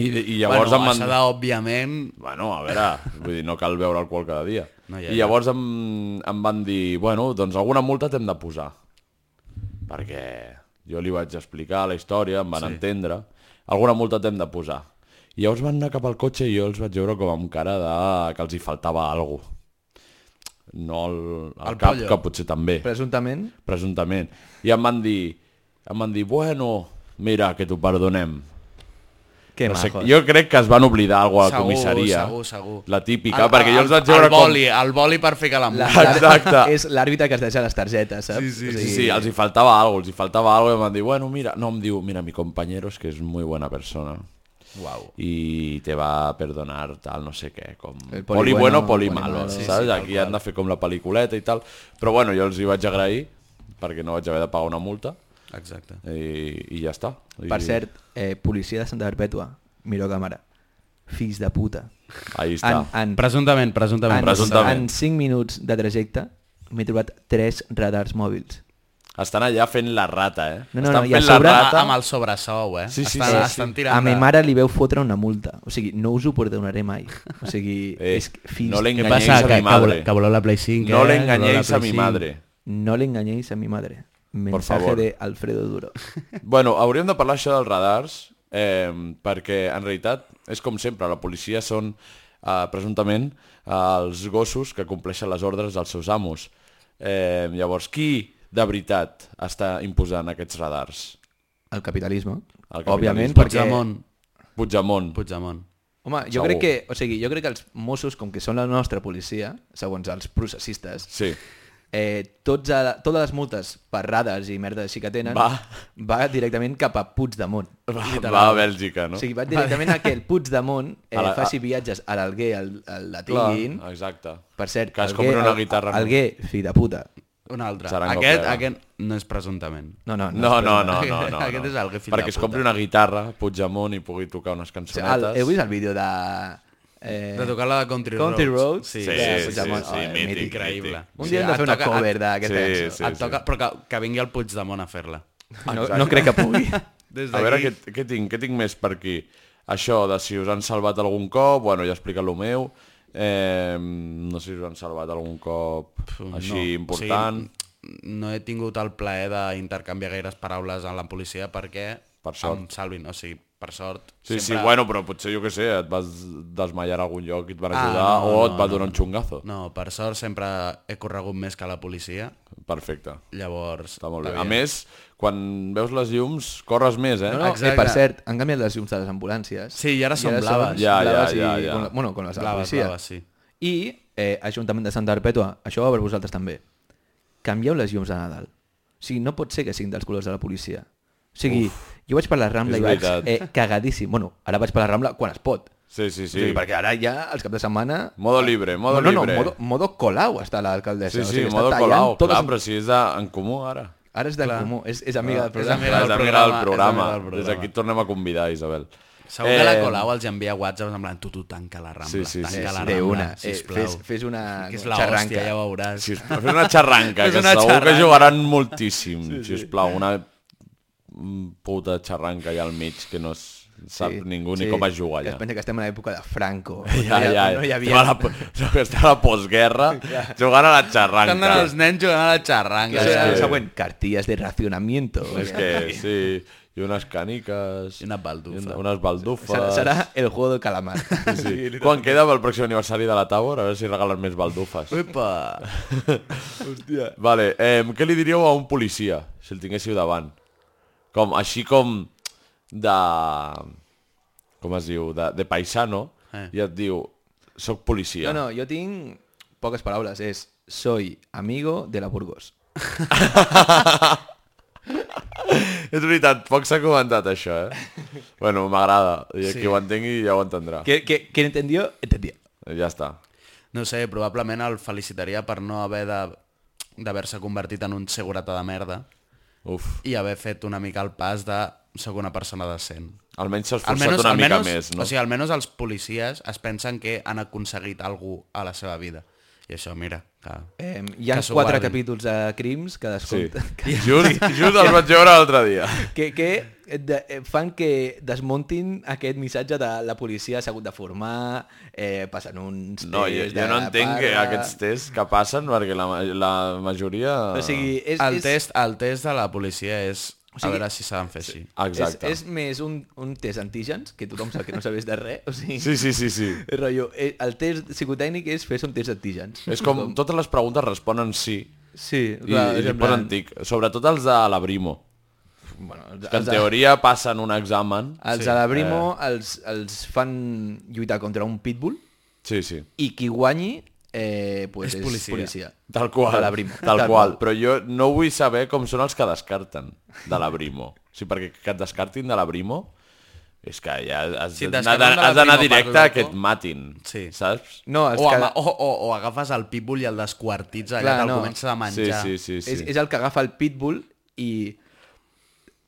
Speaker 3: i, i llavors
Speaker 6: bueno,
Speaker 3: em van...
Speaker 6: això de, òbviament...
Speaker 3: Bueno, a veure, vull dir, no cal veure alcohol cada dia.
Speaker 6: No,
Speaker 3: No,
Speaker 6: ja,
Speaker 3: ja, I
Speaker 6: ja.
Speaker 3: llavors em, em van dir, bueno, doncs alguna multa t'hem de posar. Perquè jo li vaig explicar la història, em van sí. entendre. Alguna multa t'hem de posar. I llavors van anar cap al cotxe i jo els vaig veure com amb cara de que els hi faltava alguna cosa. No el, el,
Speaker 6: El
Speaker 3: cap,
Speaker 6: pollo.
Speaker 3: que potser també
Speaker 7: Presumptament,
Speaker 3: presumptament. I em van dir, em van dir, bueno, mira, que t'ho perdonem.
Speaker 7: que
Speaker 3: No sé,
Speaker 7: majos.
Speaker 3: jo crec que es van oblidar alguna cosa a la
Speaker 6: Segur,
Speaker 3: comissaria.
Speaker 6: segur, segur.
Speaker 3: La típica, perquè jo els vaig veure
Speaker 6: el boli, com... El boli per ficar la mà.
Speaker 7: La-
Speaker 3: Exacte.
Speaker 7: [LAUGHS] És l'àrbitre que es deixa les targetes, saps?
Speaker 6: Sí, sí,
Speaker 3: com... Sí, sí, els hi faltava alguna cosa, els hi faltava alguna cosa, i em van dir, bueno, mira, no, em diu, mira, mi compañero es que es muy buena persona
Speaker 6: Uau.
Speaker 3: i te va a perdonar tal, no sé què, com
Speaker 7: El poli
Speaker 3: poli
Speaker 7: bueno,
Speaker 3: bueno, poli
Speaker 7: poli
Speaker 3: malo,
Speaker 7: malo. Sí,
Speaker 3: saps?
Speaker 6: sí, tal
Speaker 3: Aquí han de fer com la pel·liculeta i tal, però bueno, jo els hi vaig agrair perquè no vaig haver de pagar una multa.
Speaker 6: Exacte.
Speaker 3: I, i ja està. I...
Speaker 7: Per cert, eh, policia de Santa Perpètua, miró càmera. Fills de puta.
Speaker 3: Ahí està.
Speaker 7: En, en,
Speaker 6: Presumptament, presumptament.
Speaker 7: en,
Speaker 3: presumptament.
Speaker 7: en 5 minuts de trajecte m'he trobat 3 radars mòbils.
Speaker 3: Estan allà fent la rata, eh?
Speaker 7: No, no,
Speaker 3: Estan
Speaker 7: no, i a
Speaker 3: fent
Speaker 7: sobre- Ah,
Speaker 3: la
Speaker 6: A-
Speaker 3: rata...
Speaker 6: Amb el sobresou, eh?
Speaker 3: Sí, sí,
Speaker 6: estan,
Speaker 3: sí, sí.
Speaker 6: estan
Speaker 7: A
Speaker 6: tirant
Speaker 7: mi
Speaker 6: de-
Speaker 7: mare li veu fotre una multa. O sigui, no us ho perdonaré mai. O sigui,
Speaker 3: [LAUGHS] Eh,
Speaker 7: és que fills...
Speaker 3: no
Speaker 6: Què
Speaker 3: l'enganyeu.
Speaker 6: passa?
Speaker 3: Enganyéis a mi
Speaker 6: Que, que,
Speaker 3: madre.
Speaker 6: voleu- que voleu la Play
Speaker 3: No
Speaker 6: 5, eh?
Speaker 3: le
Speaker 6: Voleu
Speaker 3: engañéis
Speaker 6: la
Speaker 3: a
Speaker 6: Play
Speaker 3: mi
Speaker 6: 5.
Speaker 3: madre.
Speaker 7: No le engañéis a mi madre. Mensaje
Speaker 3: favor.
Speaker 7: de
Speaker 3: [LAUGHS]
Speaker 7: Alfredo Duro.
Speaker 3: Bueno, hauríem de parlar això dels radars, eh, perquè en realitat és com sempre, la policia són eh, presumptament eh, els gossos que compleixen les ordres dels seus amos. Eh, llavors, qui de veritat està imposant aquests radars?
Speaker 7: El capitalisme.
Speaker 3: El capitalisme.
Speaker 7: El capitalisme. Òbviament, perquè...
Speaker 6: Puigdemont.
Speaker 3: Puigdemont.
Speaker 6: Puigdemont.
Speaker 7: Home, jo
Speaker 3: Segur.
Speaker 7: crec que, o sigui, jo crec que els Mossos, com que són la nostra policia, segons els processistes,
Speaker 3: Sí.
Speaker 7: eh, tots a, totes les multes perrades i merda així que tenen
Speaker 3: Va.
Speaker 7: va directament cap a Puigdemont.
Speaker 3: Va,
Speaker 7: Literal.
Speaker 3: va a Bèlgica, no?
Speaker 7: O sigui, va directament a que el Puigdemont eh,
Speaker 3: A la-
Speaker 7: la,
Speaker 3: a-
Speaker 7: faci viatges a l'Alguer, al, al la
Speaker 3: Clar,
Speaker 7: tinguin.
Speaker 3: exacte.
Speaker 7: Per cert,
Speaker 3: Que es compri una guitarra. no?
Speaker 7: Alguer, fill de puta.
Speaker 6: Un altre.
Speaker 3: Sarango
Speaker 6: Aquest,
Speaker 3: Plebe.
Speaker 6: aquest no és presumptament.
Speaker 7: No, no,
Speaker 3: No, no, no,
Speaker 6: Aquest-
Speaker 3: no, no.
Speaker 6: aquest
Speaker 3: no.
Speaker 6: és el que fill de
Speaker 3: Perquè es
Speaker 6: puta.
Speaker 3: compri una guitarra, Puigdemont, i pugui tocar unes
Speaker 7: O sigui, el,
Speaker 3: cançonetes.
Speaker 7: heu vist el vídeo de... Eh,
Speaker 6: De tocar la de Country,
Speaker 7: Country
Speaker 6: Roads.
Speaker 7: Roads?
Speaker 6: Sí,
Speaker 3: Sí,
Speaker 6: sí,
Speaker 7: de
Speaker 3: sí,
Speaker 7: Puigdemont.
Speaker 3: sí,
Speaker 7: Oh,
Speaker 3: mític,
Speaker 7: mític.
Speaker 6: increïble.
Speaker 7: Un dia hem de fer una cover d'aquesta
Speaker 3: sí,
Speaker 7: cançó.
Speaker 3: sí.
Speaker 6: Et toca, però que, que vingui el Puigdemont a fer-la.
Speaker 7: No, no crec que pugui.
Speaker 3: [LAUGHS]
Speaker 6: Des
Speaker 3: A veure, què, què, tinc, què tinc més per aquí? Això de si us han salvat algun cop, bueno, ja he explicat el meu. Eh, no sé si us han salvat algun cop així no. important. Sí.
Speaker 6: O sigui, no he tingut el plaer d'intercanviar gaires paraules amb la policia perquè
Speaker 3: Per sort.
Speaker 6: em salvin. O sigui, per sort.
Speaker 3: Sí, sí, bueno, però potser, jo què sé, et vas desmallar a algun lloc i et van ajudar ah, no, o et va no, donar un xungazo. No.
Speaker 6: No, per sort sempre he corregut més que la policia.
Speaker 3: Perfecte,
Speaker 6: Llavors...
Speaker 3: està molt bé. A més, quan veus les llums, corres més, eh?
Speaker 7: No, no,
Speaker 6: Exacte.
Speaker 7: eh, per cert, han canviat les llums de les ambulàncies.
Speaker 6: Sí, i ara són
Speaker 7: són
Speaker 6: blaves.
Speaker 3: Ja, ja,
Speaker 7: blaves i-
Speaker 3: ja, ja.
Speaker 7: Con, bueno, con les de la
Speaker 6: Blaves,
Speaker 7: policia.
Speaker 6: blaves, sí.
Speaker 7: I eh, Ajuntament de Santa Perpètua, això va per vosaltres també. Canvieu les llums de Nadal. O sigui, no pot ser que siguin dels colors de la policia. O sigui, Uf, jo vaig per la Rambla
Speaker 3: és
Speaker 7: i vaig
Speaker 3: veritat.
Speaker 7: eh, cagadíssim. Bueno, ara vaig per la Rambla quan es pot.
Speaker 3: Sí, sí, sí.
Speaker 7: Sí. O sigui, perquè ara ja, els caps de setmana...
Speaker 3: Modo libre, modo
Speaker 7: no, no,
Speaker 3: libre.
Speaker 7: No, modo, modo colau està l'alcaldessa.
Speaker 3: Sí,
Speaker 7: o
Speaker 3: sí,
Speaker 7: sigui, està
Speaker 3: modo
Speaker 7: tallant
Speaker 3: colau,
Speaker 7: totes-
Speaker 3: clar, però si és de, en comú ara.
Speaker 7: Ara és de
Speaker 6: Clar.
Speaker 7: comú, és, és amiga del
Speaker 6: És
Speaker 7: programa.
Speaker 6: amiga
Speaker 3: és
Speaker 6: del
Speaker 3: amiga del
Speaker 6: programa, és
Speaker 3: programa.
Speaker 6: amiga del
Speaker 3: Des
Speaker 6: programa.
Speaker 3: d'aquí et tornem a convidar, Isabel.
Speaker 6: Segur que la Colau els envia whatsapps amb plan, tu, tu, tanca la Rambla,
Speaker 3: Eh, Sí, sí,
Speaker 6: tanca
Speaker 3: sí,
Speaker 6: la
Speaker 3: sí.
Speaker 6: Rambla,
Speaker 7: De una. Eh,
Speaker 6: sisplau.
Speaker 7: fes, fes una
Speaker 6: que és la
Speaker 7: xarranca.
Speaker 6: hòstia, ja veuràs.
Speaker 3: Si us plau, fer una xarranca,
Speaker 6: És
Speaker 3: que
Speaker 6: una
Speaker 3: segur
Speaker 6: xarranca.
Speaker 3: que jugaran moltíssim, sí, si us plau, una mm, puta xarranca allà al mig que no es sap sí, ningú sí. ni com es juga
Speaker 7: Que
Speaker 3: allà.
Speaker 7: es pensa que estem en l'època
Speaker 3: [LAUGHS]
Speaker 7: de Franco. [LAUGHS]
Speaker 3: Ja,
Speaker 7: no, hi
Speaker 3: ja,
Speaker 7: ha-
Speaker 3: ja.
Speaker 7: no hi havia...
Speaker 3: Estava a la,
Speaker 7: [LAUGHS]
Speaker 3: po- [LAUGHS] no, que estava a la postguerra jugant a la xarranca.
Speaker 6: Estan els nens jugant a la xarranca.
Speaker 7: Clar,
Speaker 3: És
Speaker 7: era el
Speaker 3: que-
Speaker 7: següent, cartillas de racionamiento.
Speaker 3: És eh. que, sí, i unes caniques...
Speaker 6: I una baldufa.
Speaker 3: i una- Unes baldufes.
Speaker 7: Serà, serà el juego del
Speaker 3: [LAUGHS]
Speaker 7: calamar.
Speaker 3: Sí, sí. Quan queda pel pròxim aniversari de la Tabor, a veure si regalen més baldufes.
Speaker 6: Uepa!
Speaker 3: [LAUGHS] Hòstia. Vale, eh, què li diríeu a un policia, si el tinguéssiu davant? Com, així com de... Com es diu? De, de paisano, eh.
Speaker 6: Eh.
Speaker 3: i et diu, soc
Speaker 7: No,
Speaker 3: policia.
Speaker 7: no, jo tinc poques paraules. És, soy amigo de la Burgos.
Speaker 3: És veritat, poc s'ha comentat això, eh? bueno, m'agrada. I sí. qui ho entengui ja ho entendrà. Que...
Speaker 7: Que, que, que entendió, entendió.
Speaker 3: Ja està.
Speaker 6: No sé, probablement el felicitaria per no haver de d'haver-se convertit en un segurata de merda
Speaker 3: Uf.
Speaker 6: i haver fet una mica el pas de ser una persona decent.
Speaker 3: Almenys s'ha esforçat almenys, una mica
Speaker 6: almenys,
Speaker 3: més, no?
Speaker 6: O sigui, almenys els policies es pensen que han aconseguit algú a la seva vida. I això, mira, que...
Speaker 7: Eh, hi ha
Speaker 6: Que s'ho
Speaker 7: quatre
Speaker 6: guardin.
Speaker 7: capítols de crims, cadascun...
Speaker 3: Sí. [LAUGHS]
Speaker 7: Sí.
Speaker 3: Just, just el vaig veure l'altre dia.
Speaker 7: Que, que de, eh, fan que desmuntin aquest missatge de la policia s'ha hagut de formar, eh, passen uns...
Speaker 3: No, jo,
Speaker 7: tests
Speaker 3: jo
Speaker 7: de
Speaker 3: no entenc que
Speaker 7: barra.
Speaker 3: aquests tests que passen, perquè la, ma- la majoria...
Speaker 7: O sigui, és,
Speaker 6: el,
Speaker 7: és,
Speaker 6: test, el test de la policia és o sigui,
Speaker 7: sigui-
Speaker 6: a veure si saben fer així.
Speaker 3: Exacte.
Speaker 7: És, és més un, un test antígens, que tothom sap que no sabés de res,
Speaker 3: [LAUGHS]
Speaker 7: o sigui...
Speaker 3: Sí, sí, sí, sí.
Speaker 7: Rotllo, eh, el test psicotècnic és fer-se un test d'antígens.
Speaker 3: És com totes les preguntes responen sí
Speaker 7: Sí,
Speaker 3: Eh, i,
Speaker 7: clar,
Speaker 3: i
Speaker 7: és
Speaker 3: li
Speaker 7: en
Speaker 3: posen
Speaker 7: plan-
Speaker 3: tic. Sobretot els de l'Abrimo,
Speaker 7: Bueno, els, Ah.
Speaker 3: que en
Speaker 7: els,
Speaker 3: teoria passen un examen.
Speaker 7: els de la Brimo els, els fan lluitar contra un pitbull
Speaker 3: Sí, sí.
Speaker 7: i qui guanyi eh, pues
Speaker 6: És
Speaker 7: és,
Speaker 6: policia.
Speaker 7: policia. policia.
Speaker 3: Tal qual.
Speaker 7: De la Brimo.
Speaker 3: Tal, qual. Però jo no vull saber com són els que descarten de la Brimo. O sigui, perquè que et descartin de la Brimo és que ja has
Speaker 6: Si et
Speaker 3: d'anar-
Speaker 6: descarten de la
Speaker 3: has d'anar
Speaker 6: Brimo per
Speaker 3: directe a
Speaker 6: loco.
Speaker 3: que et matin.
Speaker 6: Sí.
Speaker 3: Saps?
Speaker 7: No, els
Speaker 6: O,
Speaker 7: que,
Speaker 6: ama,
Speaker 3: oh.
Speaker 6: o, o, o agafes el pitbull i el desquartits allà,
Speaker 7: Clar,
Speaker 6: te'l
Speaker 7: no.
Speaker 6: comences a
Speaker 3: Sí,
Speaker 6: menjar.
Speaker 3: sí, sí. sí.
Speaker 7: És, és el que agafa el pitbull i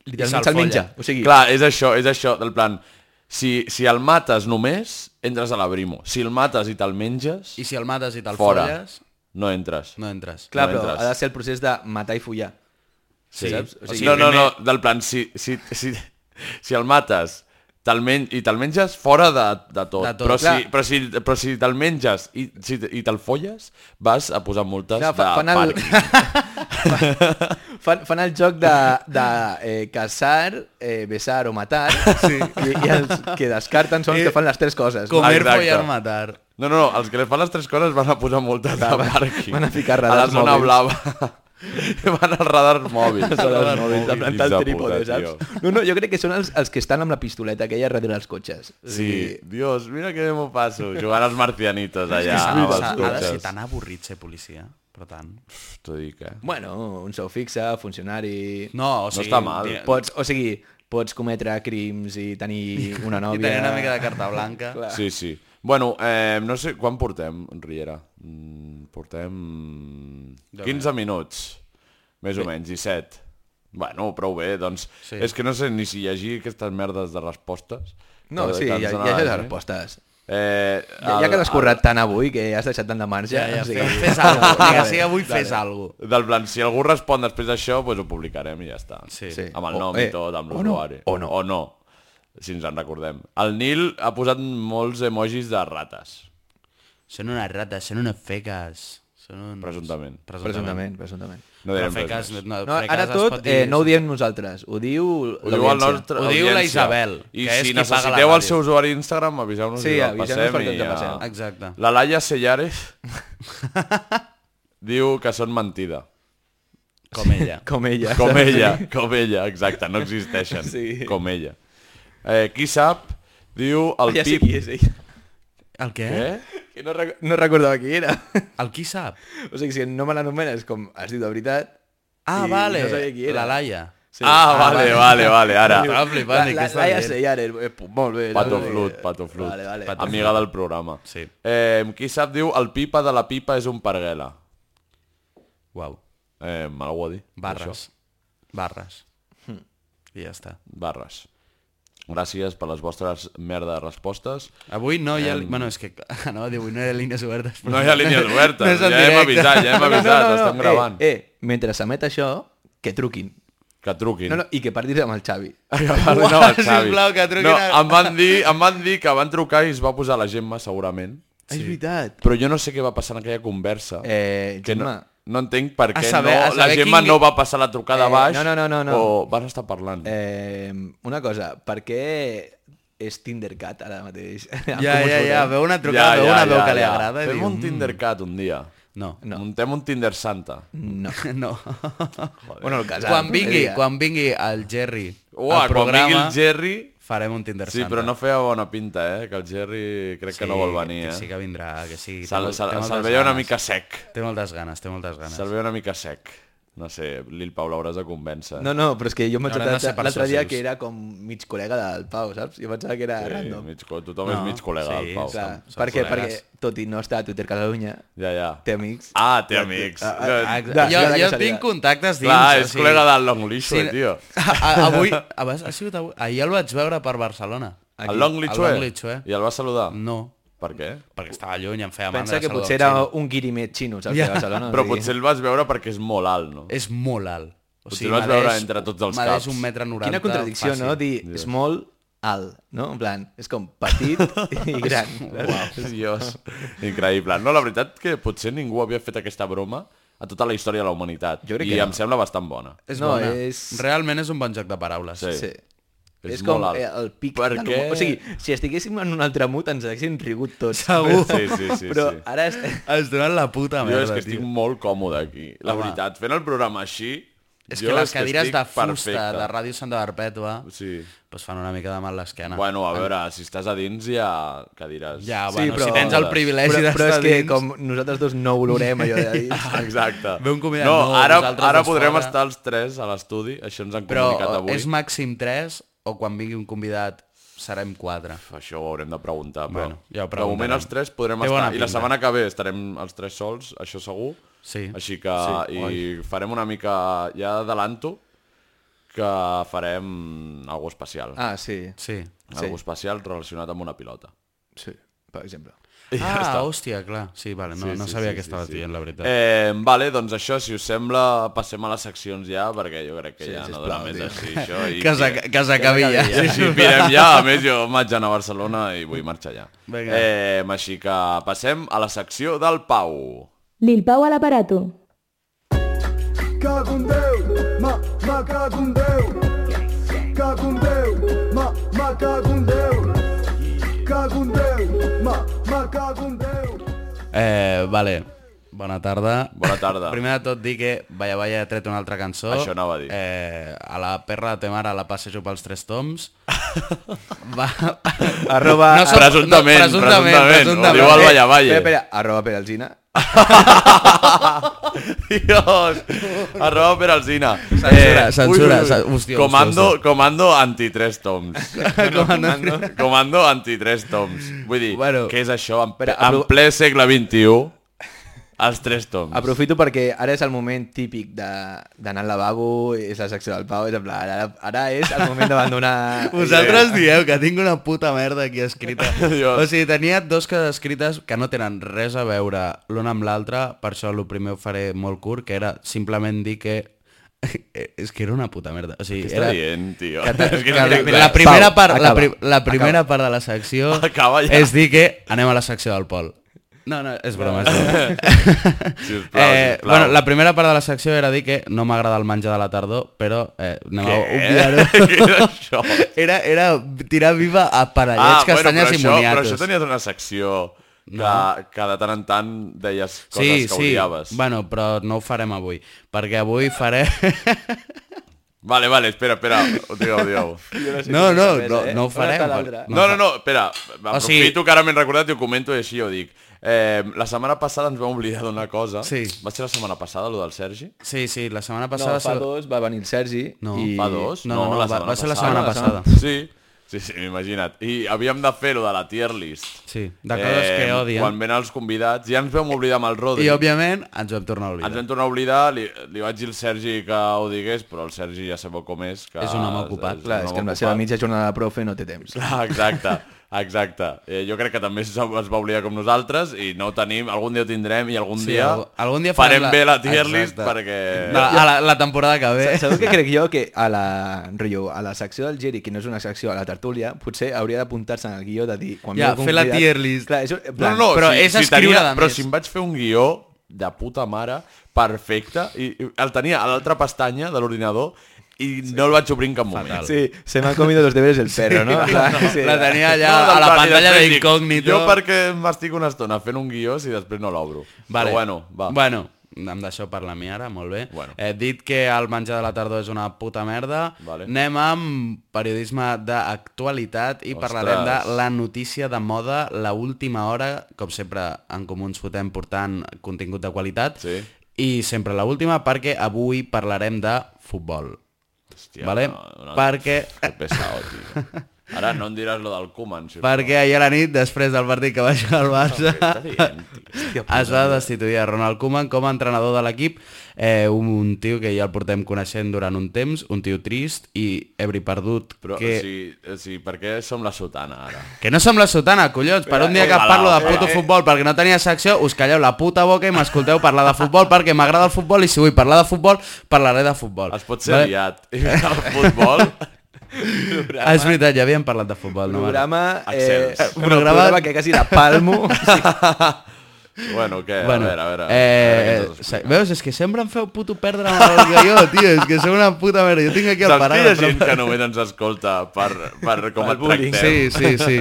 Speaker 6: Literalment
Speaker 7: se'l
Speaker 6: folla.
Speaker 7: menja. O sigui,
Speaker 3: Clar, és això, és això, del plan... Si, si el mates només, entres a l'abrimo. Si el mates i te'l menges,
Speaker 6: I si el mates i te'l
Speaker 3: fora.
Speaker 6: folles,
Speaker 3: No entres.
Speaker 6: no entres.
Speaker 7: clar
Speaker 3: no
Speaker 7: però
Speaker 3: entres.
Speaker 7: ha de ser el procés de matar i follar.
Speaker 3: Sí.
Speaker 7: Saps? O
Speaker 3: O
Speaker 7: sigui,
Speaker 3: sigui, no, no, no,
Speaker 6: primer-
Speaker 3: del plan, si, si, si, si el mates te'l men i te'l menges fora de, de tot.
Speaker 6: De tot,
Speaker 3: però,
Speaker 7: clar.
Speaker 3: si, però, si, però si te'l menges i, si, te- i te'l folles, vas a posar multes
Speaker 7: Clar,
Speaker 3: clar,
Speaker 7: fa-
Speaker 3: de
Speaker 7: fan el-
Speaker 3: pàrquing.
Speaker 7: [LAUGHS] Fan, fan el joc de, de eh, caçar, eh, besar o matar, sí. i, i els que descarten són els
Speaker 6: Eh,
Speaker 7: que fan les tres coses. Ah, no?
Speaker 6: Comer,
Speaker 3: Exacte.
Speaker 6: follar, matar.
Speaker 3: No, no, no, els que li fan les tres coses van a posar multes de
Speaker 7: Clar, van-
Speaker 3: pàrquing.
Speaker 7: van a ficar
Speaker 3: A la
Speaker 7: radars
Speaker 3: zona
Speaker 7: mòbils.
Speaker 3: blava. [LAUGHS] van als radars mòbils.
Speaker 7: Ah, Són els mòbils, de
Speaker 3: Fills
Speaker 7: plantar el trípode,
Speaker 3: puta, tio.
Speaker 7: saps? No, no, jo crec que són els, els que estan amb la pistoleta aquella darrere els cotxes.
Speaker 3: Sí, Dios, mira que bé m'ho passo, jugant als marcianitos allà,
Speaker 6: Ah,
Speaker 3: amb els
Speaker 6: ha, ha de ser
Speaker 3: cotxes.
Speaker 6: tan avorrit ser policia, però tant.
Speaker 3: T'ho dic, eh?
Speaker 7: Bueno, un sou fixe, funcionari...
Speaker 6: No, o sigui...
Speaker 3: està mal.
Speaker 6: di-
Speaker 7: Pots, o sigui, pots cometre crims i tenir una
Speaker 6: I
Speaker 7: nòvia...
Speaker 6: tenir una mica de carta blanca.
Speaker 7: Clar.
Speaker 3: Sí, sí. Bueno, eh, no sé, quan portem, Riera? Mm, Portem 15 minuts, més o menys, 17. Bueno, prou bé, doncs...
Speaker 6: Sí.
Speaker 3: Sí. És que no sé ni si llegir aquestes merdes de respostes.
Speaker 7: No,
Speaker 3: Que
Speaker 7: sí,
Speaker 3: t'han
Speaker 7: ja, ja,
Speaker 3: sonat,
Speaker 7: ja
Speaker 3: eh?
Speaker 7: les respostes.
Speaker 3: Eh,
Speaker 7: Ja, ja
Speaker 3: el-
Speaker 7: que l'has currat tant avui que has deixat tant de marge...
Speaker 6: Ja, ja,
Speaker 7: o
Speaker 6: fes,
Speaker 7: sigui-
Speaker 6: fes alguna cosa. Vinga, sí, avui fes alguna cosa.
Speaker 3: el- Del plan, si algú respon després d'això, doncs ho publicarem i ja està.
Speaker 6: Sí.
Speaker 7: Sí.
Speaker 3: Amb el
Speaker 7: O-
Speaker 3: nom
Speaker 7: eh,
Speaker 3: i tot, amb
Speaker 7: o no,
Speaker 3: l'usuari.
Speaker 7: o no.
Speaker 3: O no, si ens en recordem. El Nil ha posat molts emojis de rates,
Speaker 6: Són unes rates, són unes feques. Són uns...
Speaker 3: presumptament.
Speaker 7: [LAUGHS] Presumptament, presumptament.
Speaker 3: No direm
Speaker 6: Però feques,
Speaker 3: res més.
Speaker 6: no,
Speaker 7: No,
Speaker 6: feques
Speaker 7: ara
Speaker 6: es pot
Speaker 7: tot
Speaker 6: dir-
Speaker 7: eh, no ho diem nosaltres, ho diu
Speaker 3: Ho diu, el
Speaker 7: l'audiència.
Speaker 3: nostre,
Speaker 6: Ho diu la
Speaker 3: audiència.
Speaker 6: Isabel,
Speaker 3: I
Speaker 6: que és
Speaker 3: si
Speaker 6: qui paga la
Speaker 3: necessiteu el
Speaker 6: ràdio.
Speaker 3: seu usuari d'Instagram, aviseu-nos
Speaker 7: Sí,
Speaker 3: i el
Speaker 7: aviseu-nos
Speaker 3: passem.
Speaker 7: perquè
Speaker 3: I
Speaker 7: ens el passeu.
Speaker 3: ja...
Speaker 6: Exacte.
Speaker 3: La Laia Sellares [LAUGHS] diu que són mentida.
Speaker 6: Com ella.
Speaker 7: Com ella. [LAUGHS]
Speaker 3: Com
Speaker 7: saps?
Speaker 3: ella, com ella, exacte, no existeixen.
Speaker 7: Sí.
Speaker 3: Com ella. Eh, qui sap, diu el
Speaker 7: Ja sé
Speaker 3: Pip...
Speaker 7: qui és ella.
Speaker 6: [LAUGHS] El què?
Speaker 3: Eh?
Speaker 7: Que no, rec no recordava qui era. [LAUGHS]
Speaker 6: El qui sap?
Speaker 7: O sigui, si no me l'anomenes com has dit de veritat...
Speaker 6: Ah,
Speaker 7: i
Speaker 6: vale.
Speaker 7: No sabia qui era.
Speaker 6: La Laia.
Speaker 7: Sí.
Speaker 3: Ah, vale, vale, vale, ara.
Speaker 6: Estava flipant, dic, què
Speaker 7: la, la,
Speaker 6: està
Speaker 7: Laia
Speaker 6: dient?
Speaker 7: Sellares, eh, pu- molt bé.
Speaker 3: Pato
Speaker 7: saps?
Speaker 3: Flut, Pato Flut.
Speaker 7: Vale, vale.
Speaker 3: Pato Amiga del programa.
Speaker 6: Sí.
Speaker 3: Eh, qui sap, diu, el pipa de la pipa és un parguela.
Speaker 6: Uau.
Speaker 3: Eh, algú a dir?
Speaker 6: Barres. Barres.
Speaker 7: Hm.
Speaker 6: I ja està.
Speaker 3: Barres. Gràcies per les vostres merda de respostes.
Speaker 6: Avui no hi ha... Bueno, és que [LAUGHS] anava a dir, avui no hi ha línies obertes. però-
Speaker 3: [LAUGHS] No hi ha línies obertes,
Speaker 6: és en
Speaker 3: ja hem
Speaker 6: directe.
Speaker 3: avisat, [LAUGHS] ja hem avisat, estem gravant.
Speaker 7: Eh, eh, mentre s'emet això, que truquin.
Speaker 3: Que truquin. [LAUGHS]
Speaker 7: No, no, I que parlis amb el Xavi.
Speaker 3: Que
Speaker 7: [LAUGHS]
Speaker 3: parlin amb [LAUGHS] el
Speaker 6: Uah,
Speaker 3: Xavi.
Speaker 6: sisplau, que truquin
Speaker 3: no,
Speaker 6: a-
Speaker 3: em, van dir, em van dir que van trucar i es va posar la Gemma, segurament.
Speaker 7: Sí. Ah, És veritat.
Speaker 3: Però jo no sé què va passar en aquella conversa.
Speaker 7: Eh,
Speaker 3: que no,
Speaker 7: Gemma.
Speaker 3: no entenc per
Speaker 6: A
Speaker 3: què
Speaker 6: saber- a
Speaker 3: no, la
Speaker 6: saber
Speaker 3: Gemma
Speaker 6: quin-
Speaker 3: no va passar la trucada
Speaker 7: Eh,
Speaker 3: a baix
Speaker 7: no, no, no, no, no.
Speaker 3: o van estar parlant. Eh,
Speaker 7: Eh, una cosa, per què és Tindercat ara mateix?
Speaker 6: [LAUGHS]
Speaker 7: [LAUGHS]
Speaker 6: Ja,
Speaker 7: Com us
Speaker 6: ja, ja,
Speaker 7: veurem?
Speaker 6: veu una trucada, veu una veu que li agrada. i
Speaker 3: Fem
Speaker 6: diu,
Speaker 3: un
Speaker 6: "Mm,
Speaker 3: Tindercat un dia.
Speaker 6: No, Mm.
Speaker 3: No. Muntem un Tinder Santa. [LAUGHS]
Speaker 7: No.
Speaker 6: no.
Speaker 7: Bueno, el casal.
Speaker 6: quan vingui,
Speaker 7: Diria.
Speaker 6: quan vingui el Jerry
Speaker 3: Uah,
Speaker 6: al programa,
Speaker 3: quan vingui el Jerry...
Speaker 6: farem un Tinder
Speaker 3: Sí, però no feia bona pinta, eh? Que el Jerry crec que no vol venir, eh?
Speaker 6: Que sí que vindrà, que sí. té
Speaker 3: Se'l
Speaker 6: molt- té
Speaker 3: se,
Speaker 6: moltes
Speaker 3: se veia una
Speaker 6: ganes.
Speaker 3: mica sec.
Speaker 6: Té moltes ganes, té moltes ganes.
Speaker 3: Se'l veia una mica sec. No sé, Lil Pau l'hauràs de convèncer.
Speaker 7: No, no, però és que jo em vaig
Speaker 6: Hauran de ser
Speaker 7: adonar l'altre dia
Speaker 6: persuasius.
Speaker 7: que era com mig col·lega del Pau, saps? Jo pensava que era
Speaker 3: sí,
Speaker 7: random.
Speaker 3: mig, co- tothom
Speaker 6: No,
Speaker 3: és mig col·lega
Speaker 6: sí,
Speaker 3: del Pau.
Speaker 7: Clar,
Speaker 6: som- som
Speaker 7: perquè, perquè,
Speaker 6: col·legues.
Speaker 7: tot i no estar a Twitter Catalunya,
Speaker 3: Ja, ja.
Speaker 7: té amics.
Speaker 3: Ah, té amics.
Speaker 7: Ah, ah,
Speaker 3: No,
Speaker 6: Ah,
Speaker 7: De-
Speaker 6: jo
Speaker 7: de la
Speaker 6: jo
Speaker 7: casualitat.
Speaker 6: tinc contactes dins.
Speaker 3: Clar,
Speaker 6: o
Speaker 3: és
Speaker 6: sigui-
Speaker 3: col·lega del Long Lishue, tio.
Speaker 6: [LAUGHS] A, a, avui, abans, ha sigut avui, ahir el vaig veure per Barcelona.
Speaker 3: El Long Lishue?
Speaker 6: Long Mm. Lishue.
Speaker 3: I el va saludar?
Speaker 6: No,
Speaker 3: Per què?
Speaker 6: perquè estava lluny i em feia mandra
Speaker 7: Pensa que
Speaker 6: saludar
Speaker 7: potser
Speaker 6: un
Speaker 7: era
Speaker 6: xino.
Speaker 7: un guirimet xino, saps?
Speaker 6: Ja.
Speaker 7: De Barcelona,
Speaker 3: Però
Speaker 7: o sigui.
Speaker 3: potser el vas veure perquè és molt alt, no?
Speaker 6: És molt alt.
Speaker 3: Potser el vas
Speaker 6: medeix-
Speaker 3: veure entre tots els
Speaker 6: medeix
Speaker 3: caps.
Speaker 6: un metre noranta.
Speaker 7: Quina contradicció,
Speaker 6: fàcil.
Speaker 7: no? Dir small, alt, no? En plan, és com petit i gran.
Speaker 3: Uau, [LAUGHS] Dios. Increïble. No, la veritat que potser ningú havia fet aquesta broma a tota la història de la humanitat.
Speaker 7: Jo crec
Speaker 3: I
Speaker 7: que no.
Speaker 3: em sembla bastant bona.
Speaker 6: És no,
Speaker 7: No,
Speaker 6: bona. És...
Speaker 7: és-
Speaker 6: Realment és un bon joc de paraules.
Speaker 3: Sí.
Speaker 7: Sí.
Speaker 3: És
Speaker 7: És, com
Speaker 3: molt alt.
Speaker 7: eh, el pic
Speaker 3: Per
Speaker 7: de
Speaker 3: què?
Speaker 7: l'humor. O sigui, si estiguéssim en un altre mut ens haguessin rigut tots. [LAUGHS]
Speaker 6: Segur.
Speaker 3: Sí, sí, sí.
Speaker 7: Però ah,
Speaker 3: sí.
Speaker 7: ara... Est...
Speaker 6: Has donat la puta
Speaker 3: Jo
Speaker 6: merda,
Speaker 3: és que estic
Speaker 6: tio.
Speaker 3: molt còmode aquí, la
Speaker 6: Home.
Speaker 3: veritat. Fent el programa així...
Speaker 6: És
Speaker 3: jo
Speaker 6: que les cadires
Speaker 3: estic
Speaker 6: de fusta
Speaker 3: perfecte.
Speaker 6: de Ràdio Santa Perpètua
Speaker 3: Sí.
Speaker 6: pues fan una mica de mal l'esquena.
Speaker 3: Bueno, a veure, si estàs a dins ja... Què diràs?
Speaker 6: Ja,
Speaker 7: Sí,
Speaker 6: bueno,
Speaker 7: però-
Speaker 6: si tens el privilegi
Speaker 7: però,
Speaker 6: d'estar
Speaker 7: però és que
Speaker 6: dins...
Speaker 7: com nosaltres dos no olorem allò de
Speaker 3: [LAUGHS]
Speaker 7: dins.
Speaker 3: Exacte.
Speaker 6: Ve un convidat
Speaker 3: no,
Speaker 6: nou,
Speaker 3: ara,
Speaker 6: vosaltres
Speaker 3: ara
Speaker 6: dos
Speaker 3: podrem
Speaker 6: fora.
Speaker 3: estar els tres a l'estudi, això ens han
Speaker 6: Però
Speaker 3: comunicat avui.
Speaker 6: és màxim 3 o quan vingui un convidat serem 4.
Speaker 3: Això ho haurem de preguntar, però...
Speaker 6: Bueno, ja ho
Speaker 3: de moment
Speaker 6: preguntarem.
Speaker 3: els tres podrem
Speaker 6: Té
Speaker 3: estar...
Speaker 6: bona
Speaker 3: I la
Speaker 6: pinta.
Speaker 3: setmana que ve estarem els tres sols, això segur.
Speaker 6: Sí.
Speaker 3: Així que...
Speaker 6: Sí,
Speaker 3: I farem una mica... Ja adelanto que farem algo especial.
Speaker 7: Ah, sí.
Speaker 6: Sí.
Speaker 7: sí.
Speaker 3: Algo especial relacionat amb una pilota.
Speaker 7: Sí, per exemple.
Speaker 3: I ja
Speaker 6: ah,
Speaker 3: està.
Speaker 6: hòstia, clar. Sí, vale, no, sí, no sabia sí, què estava sí, dient, la veritat.
Speaker 3: Eh, vale, doncs això, si us sembla, passem a les seccions ja, perquè jo crec que
Speaker 7: Sí,
Speaker 3: ja no
Speaker 7: sisplau,
Speaker 3: dona més
Speaker 7: tio.
Speaker 3: així, això. I
Speaker 6: [LAUGHS] que s'ac- que s'acabi ja.
Speaker 3: Sí, sí, mirem ja. A més, jo vaig anar a Barcelona i vull marxar ja.
Speaker 6: Vinga.
Speaker 3: Eh, així que passem a la secció del Pau.
Speaker 1: Lil Pau a l'aparato.
Speaker 8: Cago en Déu, ma, ma cago en Déu. Cago en Déu, ma, ma cago en Déu. Cago en Déu, ma, ma cago en Déu.
Speaker 6: [LAUGHS] Eh, vale. Bona tarda.
Speaker 3: Bona tarda.
Speaker 6: Primer de tot dir que Vaya Vaya ha tret una altra cançó.
Speaker 3: Això anava a dir.
Speaker 6: Eh, a la perra de te mare la passejo pels tres toms.
Speaker 3: [LAUGHS]
Speaker 6: Va... Arroba...
Speaker 3: No, presumptament, presumptament, ho diu el Vaya Valle.
Speaker 7: Espera, espera, arroba per alzina.
Speaker 3: Dios, arroba per alzina. Eh,
Speaker 6: Censura, censura, cen- hòstia,
Speaker 3: comando,
Speaker 6: hòstia,
Speaker 3: comando anti tres toms.
Speaker 6: Comando.
Speaker 3: comando anti tres toms. Vull dir, bueno,
Speaker 6: Bueno.
Speaker 3: què és això? En,
Speaker 7: Espera,
Speaker 3: en
Speaker 7: apro-
Speaker 3: ple segle XXI, els tres toms.
Speaker 7: Aprofito perquè ara és el moment típic de- d'anar al lavabo, és la secció del Pau, és en plan, ara, ara és el moment d'abandonar...
Speaker 6: Vosaltres dieu que tinc una puta merda aquí escrita.
Speaker 3: [LAUGHS] Jo-
Speaker 6: O sigui, tenia dos que escrites que no tenen res a veure l'una amb l'altra, per això el primer ho faré molt curt, que era simplement dir que... [LAUGHS] És que era una puta merda. O sigui,
Speaker 3: Què
Speaker 6: era...
Speaker 3: està dient, tio?
Speaker 6: Que,
Speaker 3: És que
Speaker 6: que
Speaker 3: no
Speaker 6: la,
Speaker 3: tinc
Speaker 6: la
Speaker 3: res.
Speaker 6: primera,
Speaker 7: Pau,
Speaker 6: part, la,
Speaker 7: acaba,
Speaker 6: pri la primera part de la secció
Speaker 3: Acaba ja.
Speaker 6: és dir que anem a la secció del Pol. No, no, és broma. És broma.
Speaker 3: [LAUGHS] Sisplau,
Speaker 6: eh,
Speaker 3: sisplau.
Speaker 6: bueno, la primera part de la secció era dir que no m'agrada el menjar de la tardor, però eh, anem a
Speaker 3: Què?
Speaker 6: obviar-ho.
Speaker 3: [LAUGHS] Què és això?
Speaker 6: Era, era tirar viva a
Speaker 3: Ah,
Speaker 6: parellets, ah,
Speaker 3: bueno, però
Speaker 6: castanyes bueno,
Speaker 3: això,
Speaker 6: i
Speaker 3: però
Speaker 6: moniatos.
Speaker 3: això tenies una secció que, que de tant en tant deies coses
Speaker 6: sí,
Speaker 3: que
Speaker 6: sí.
Speaker 3: odiaves.
Speaker 6: Bueno, però no ho farem avui, perquè avui farem...
Speaker 3: Vale, vale, espera, espera, ho dieu, ho
Speaker 6: [LAUGHS]
Speaker 3: dieu.
Speaker 6: No, no, no,
Speaker 7: eh?
Speaker 6: no ho farem.
Speaker 3: No, no, no, espera,
Speaker 6: O
Speaker 3: aprofito
Speaker 6: sigui-
Speaker 3: que ara m'he recordat i ho comento i així ho dic. Eh, la setmana passada ens vam oblidar d'una cosa.
Speaker 6: Sí.
Speaker 3: Va ser la setmana passada, lo del Sergi?
Speaker 6: [LAUGHS] Sí, sí, la setmana
Speaker 7: No,
Speaker 6: passada...
Speaker 7: fa dos va venir el Sergi
Speaker 6: No,
Speaker 7: i...
Speaker 3: Fa dos?
Speaker 6: No, no, no,
Speaker 3: la
Speaker 6: va-
Speaker 3: setmana
Speaker 6: va ser la
Speaker 3: passada.
Speaker 6: setmana
Speaker 3: Ah, Sí, sí, sí, imagina't. I havíem de fer lo de la tier list.
Speaker 6: Sí, de coses que odien.
Speaker 3: Eh, Quan venen els convidats, ja ens vam oblidar amb el Rodri.
Speaker 6: I, òbviament, ens ho hem tornat a
Speaker 3: Ens
Speaker 6: oblidar.
Speaker 3: vam tornar a oblidar, li, li vaig dir al Sergi que ho digués, però el Sergi ja sabeu com és. Que
Speaker 6: És un home ocupat.
Speaker 7: Clar,
Speaker 3: un
Speaker 7: és
Speaker 3: home
Speaker 7: que amb la seva
Speaker 3: ocupat.
Speaker 7: mitja jornada de profe no té temps.
Speaker 3: Clar, exacte, exacte. Eh, jo crec que també es, es va oblidar com nosaltres i no ho tenim, algun dia ho tindrem i algun
Speaker 6: Sí,
Speaker 3: dia,
Speaker 6: algun- algun dia
Speaker 3: farem
Speaker 6: farem la-
Speaker 3: bé la tier list
Speaker 6: Exacte.
Speaker 3: perquè...
Speaker 6: La, a la, la temporada que ve.
Speaker 7: Sabeu què crec jo? Que a la, rotllo, a la secció del Giri, que no és una secció a la tertúlia, potser hauria d'apuntar-se en el guió de dir... Quan
Speaker 6: Ja,
Speaker 7: ve el
Speaker 6: fer la
Speaker 7: convidat-
Speaker 6: tier list.
Speaker 7: Clar, és, un- en
Speaker 3: No,
Speaker 7: plan,
Speaker 3: no,
Speaker 6: Però
Speaker 3: si,
Speaker 6: és
Speaker 3: si
Speaker 6: escriure
Speaker 3: tenia,
Speaker 6: de
Speaker 3: Però
Speaker 6: més.
Speaker 3: si em vaig fer un guió de puta mare, perfecte, i, i el tenia a l'altra pestanya de l'ordinador i sí. no el vaig obrir en cap moment.
Speaker 7: Sí, se m'han comido los deberes del perro, no? Clar, sí. eh?
Speaker 6: la tenia allà
Speaker 3: No,
Speaker 6: a
Speaker 3: doncs,
Speaker 6: la
Speaker 3: vale,
Speaker 6: pantalla
Speaker 3: després dic,
Speaker 6: d'incògnito.
Speaker 3: Jo perquè m'estic una estona fent un guió i després no l'obro.
Speaker 6: Vale.
Speaker 3: Però bueno, va.
Speaker 6: Bueno, em deixeu parlar a mi ara, molt bé.
Speaker 3: Bueno.
Speaker 6: He dit que el menjar de la tardor és una puta merda.
Speaker 3: Vale.
Speaker 6: Anem amb periodisme d'actualitat i
Speaker 3: Ostres.
Speaker 6: parlarem de la notícia de moda, la última hora, com sempre en comú ens fotem portant contingut de qualitat.
Speaker 3: Sí.
Speaker 6: I sempre la última perquè avui parlarem de futbol.
Speaker 3: Hòstia,
Speaker 6: vale? Perquè...
Speaker 3: Que pesado, tio. Ara no em diràs lo del Koeman, si
Speaker 6: Perquè ahir a la nit, després del partit que va jugar el Barça, es va destituir a Ronald Koeman com a entrenador de l'equip, eh, un, un tio que ja el portem coneixent durant un temps, un tio trist i ebri perdut,
Speaker 3: Però,
Speaker 6: que,
Speaker 3: que... o sigui, o sigui, per què som la sotana, ara?
Speaker 6: que no som la sotana, collons, per un dia que
Speaker 3: ojalà,
Speaker 6: parlo de
Speaker 3: ojalà.
Speaker 6: puto futbol perquè no tenia secció, us calleu la puta boca i m'escolteu parlar de futbol perquè m'agrada el futbol i si vull parlar de futbol, parlaré de futbol.
Speaker 3: Es pot ser vale. liat. I el futbol...
Speaker 6: Ah, És veritat, ja havíem parlat de futbol, no? Mare?
Speaker 7: programa, eh,
Speaker 3: Excels.
Speaker 7: un programa que quasi la palmo. Sí,
Speaker 3: Bueno, què? a
Speaker 6: Bueno,
Speaker 3: veure, a veure. a veure
Speaker 6: eh,
Speaker 3: què ens has
Speaker 6: sa- veus, és que sempre em feu puto perdre amb el guió, tio, és que sou una puta merda, jo tinc aquí
Speaker 3: Saps que
Speaker 6: el
Speaker 3: hi
Speaker 6: paràgraf.
Speaker 3: ha gent que només ens escolta per,
Speaker 6: [LAUGHS]
Speaker 3: per com et tractem?
Speaker 6: Sí, sí, sí.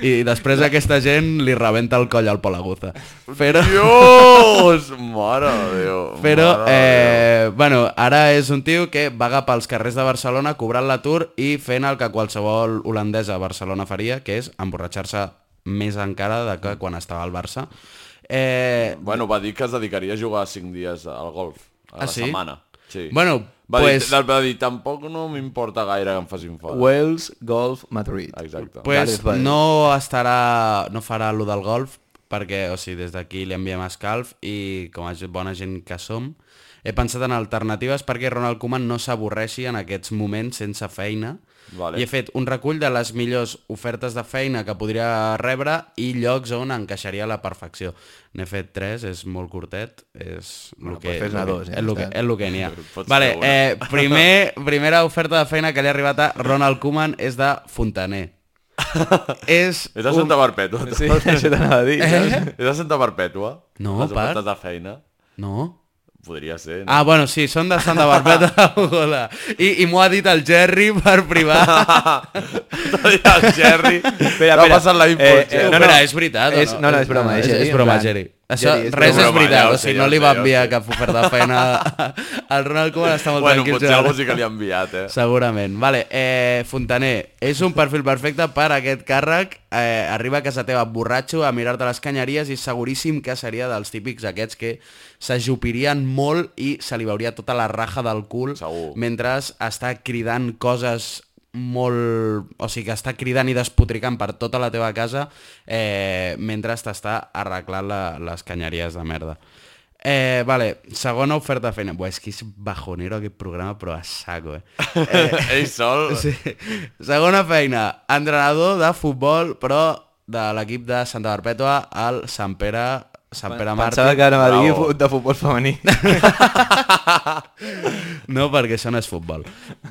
Speaker 6: I després aquesta gent li rebenta el coll al Polaguza. Però,
Speaker 3: Dios! Mare de Déu.
Speaker 6: però
Speaker 3: mare de
Speaker 6: eh, bueno, ara és un tio que vaga pels carrers de Barcelona cobrant l'atur i fent el que qualsevol holandesa a Barcelona faria, que és emborratxar-se més encara de que quan estava al Barça. Eh,
Speaker 3: Déu. Bueno, va dir que es dedicaria a jugar 5 dies al golf a
Speaker 6: Ah,
Speaker 3: la
Speaker 6: sí?
Speaker 3: setmana. Sí.
Speaker 6: Bueno,
Speaker 3: va
Speaker 6: pues-
Speaker 3: Dir, va dir, tampoc no m'importa gaire que em facin fora.
Speaker 7: Wales Golf Madrid.
Speaker 3: Exacte.
Speaker 6: pues
Speaker 7: Gareth Bale.
Speaker 6: no estarà, no farà lo del golf perquè, o sigui, des d'aquí li enviem escalf i, com a ge- bona gent que som, he pensat en alternatives perquè Ronald Koeman no s'avorreixi en aquests moments sense feina
Speaker 3: Vale.
Speaker 6: i he fet un recull de les millors ofertes de feina que podria rebre i llocs on encaixaria a la perfecció. N'he fet tres, és molt curtet, és el
Speaker 7: Bueno,
Speaker 6: que,
Speaker 7: pots fer-ne
Speaker 6: el que-
Speaker 7: dos, ja
Speaker 6: és el que,
Speaker 7: està.
Speaker 6: és el que n'hi ha.
Speaker 3: Pots
Speaker 6: Vale,
Speaker 3: fer una.
Speaker 6: eh, primer, primera oferta de feina que li ha arribat a Ronald Koeman és de Fontaner. és
Speaker 3: És a Santa Perpètua.
Speaker 7: Sí, [LAUGHS] això t'anava a dir.
Speaker 6: Eh?
Speaker 7: saps?
Speaker 3: És a Santa Perpètua.
Speaker 6: No,
Speaker 3: Les
Speaker 6: per.
Speaker 3: ofertes de feina.
Speaker 6: No?
Speaker 3: Podria ser. No? [LAUGHS]
Speaker 6: Ah, bueno, sí, són de Santa
Speaker 7: [LAUGHS]
Speaker 6: Barbeta, [LAUGHS] Angola. I, i m'ho ha dit el Jerry per
Speaker 7: [LAUGHS]
Speaker 6: privar.
Speaker 3: el
Speaker 6: [LAUGHS]
Speaker 3: Jerry.
Speaker 7: Espera,
Speaker 3: T'ha
Speaker 7: espera.
Speaker 3: passat la info,
Speaker 7: Eh, eh,
Speaker 3: Jerry.
Speaker 6: no, no, és veritat. o
Speaker 7: És- no, no, és broma, és
Speaker 6: És,
Speaker 7: Jerry,
Speaker 6: és broma,
Speaker 7: en plan,
Speaker 6: Jerry. Això,
Speaker 7: Jerry, és
Speaker 6: res
Speaker 3: broma.
Speaker 6: és veritat,
Speaker 3: Ja ho
Speaker 6: o sigui,
Speaker 3: sé,
Speaker 6: no
Speaker 3: ja
Speaker 6: li
Speaker 3: ho
Speaker 6: va
Speaker 3: sé, ja ho
Speaker 6: enviar
Speaker 3: sé.
Speaker 6: cap oferta de feina
Speaker 7: [LAUGHS]
Speaker 6: al Ronald Koeman, està molt
Speaker 3: bueno,
Speaker 6: tranquil,
Speaker 3: potser
Speaker 6: Gerard.
Speaker 3: algú sí que li ha enviat,
Speaker 6: [LAUGHS]
Speaker 3: eh?
Speaker 6: Segurament. Vale, eh, Fontaner, és un perfil perfecte per aquest càrrec. Eh, arriba a casa teva borratxo a mirar-te les canyeries i seguríssim que seria dels típics aquests que s'ajupirien molt i se li veuria tota la raja del cul
Speaker 3: Segur.
Speaker 6: mentre està cridant coses molt... O sigui, que està cridant i despotricant per tota la teva casa eh, mentre t'està arreglant la, les canyeries de merda. Eh, vale, segona oferta de feina. Buah, és que és bajonero aquest programa, però a saco, eh?
Speaker 3: Ell sol.
Speaker 6: Sí. Segona feina, entrenador de futbol, però de l'equip de Santa Perpètua al Sant Pere, Sant Pere Martí.
Speaker 7: Pensava que anava a dir
Speaker 3: Bravo.
Speaker 7: fu- de futbol femení.
Speaker 6: No, perquè això no és futbol.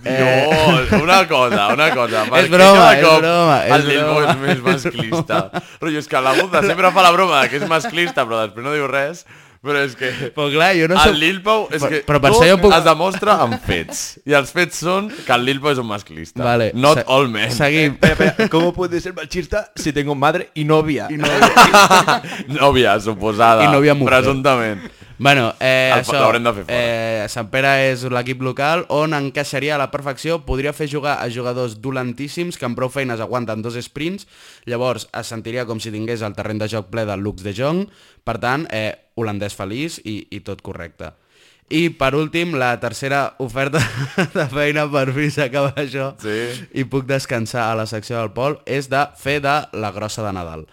Speaker 6: Eh,
Speaker 3: Dios, una cosa, una
Speaker 6: [LAUGHS]
Speaker 3: cosa. per
Speaker 6: És
Speaker 3: què
Speaker 6: broma,
Speaker 3: cada
Speaker 6: és
Speaker 3: cop
Speaker 6: broma, és
Speaker 3: El Bilbao
Speaker 6: broma,
Speaker 3: és més
Speaker 6: és [LAUGHS]
Speaker 3: masclista. Rollo, és que la Buda sempre fa la broma de que és masclista, però després no diu res. Però és que...
Speaker 6: Però clar, jo no
Speaker 3: No
Speaker 6: soc...
Speaker 3: el Lil Pau és
Speaker 6: Però-
Speaker 3: que
Speaker 6: però per
Speaker 3: tot
Speaker 6: això jo puc-
Speaker 3: es demostra amb fets. I els fets són que el Lil Pau és un masclista.
Speaker 6: Vale.
Speaker 3: Not
Speaker 6: se-
Speaker 3: all men. eh?
Speaker 6: Seguim.
Speaker 7: Espera, espera, ¿cómo puede ser machista si tengo madre y novia? I no...
Speaker 3: eh? Nòvia, suposada.
Speaker 6: I nòvia mujer.
Speaker 3: Presumptament.
Speaker 6: Bueno, eh,
Speaker 3: El fa-
Speaker 6: això,
Speaker 3: l'haurem de fer fora.
Speaker 6: eh, Sant Pere és l'equip local on encaixaria a la perfecció, podria fer jugar a jugadors dolentíssims que amb prou feines aguanten dos sprints, llavors es sentiria com si tingués el terreny de joc ple de Lux de Jong, per tant, eh, holandès feliç i, i tot correcte. I per últim, la tercera oferta [LAUGHS] de feina, per fi s'acaba això,
Speaker 3: Sí.
Speaker 6: i puc descansar a la secció del Pol, és de fer de la grossa de Nadal.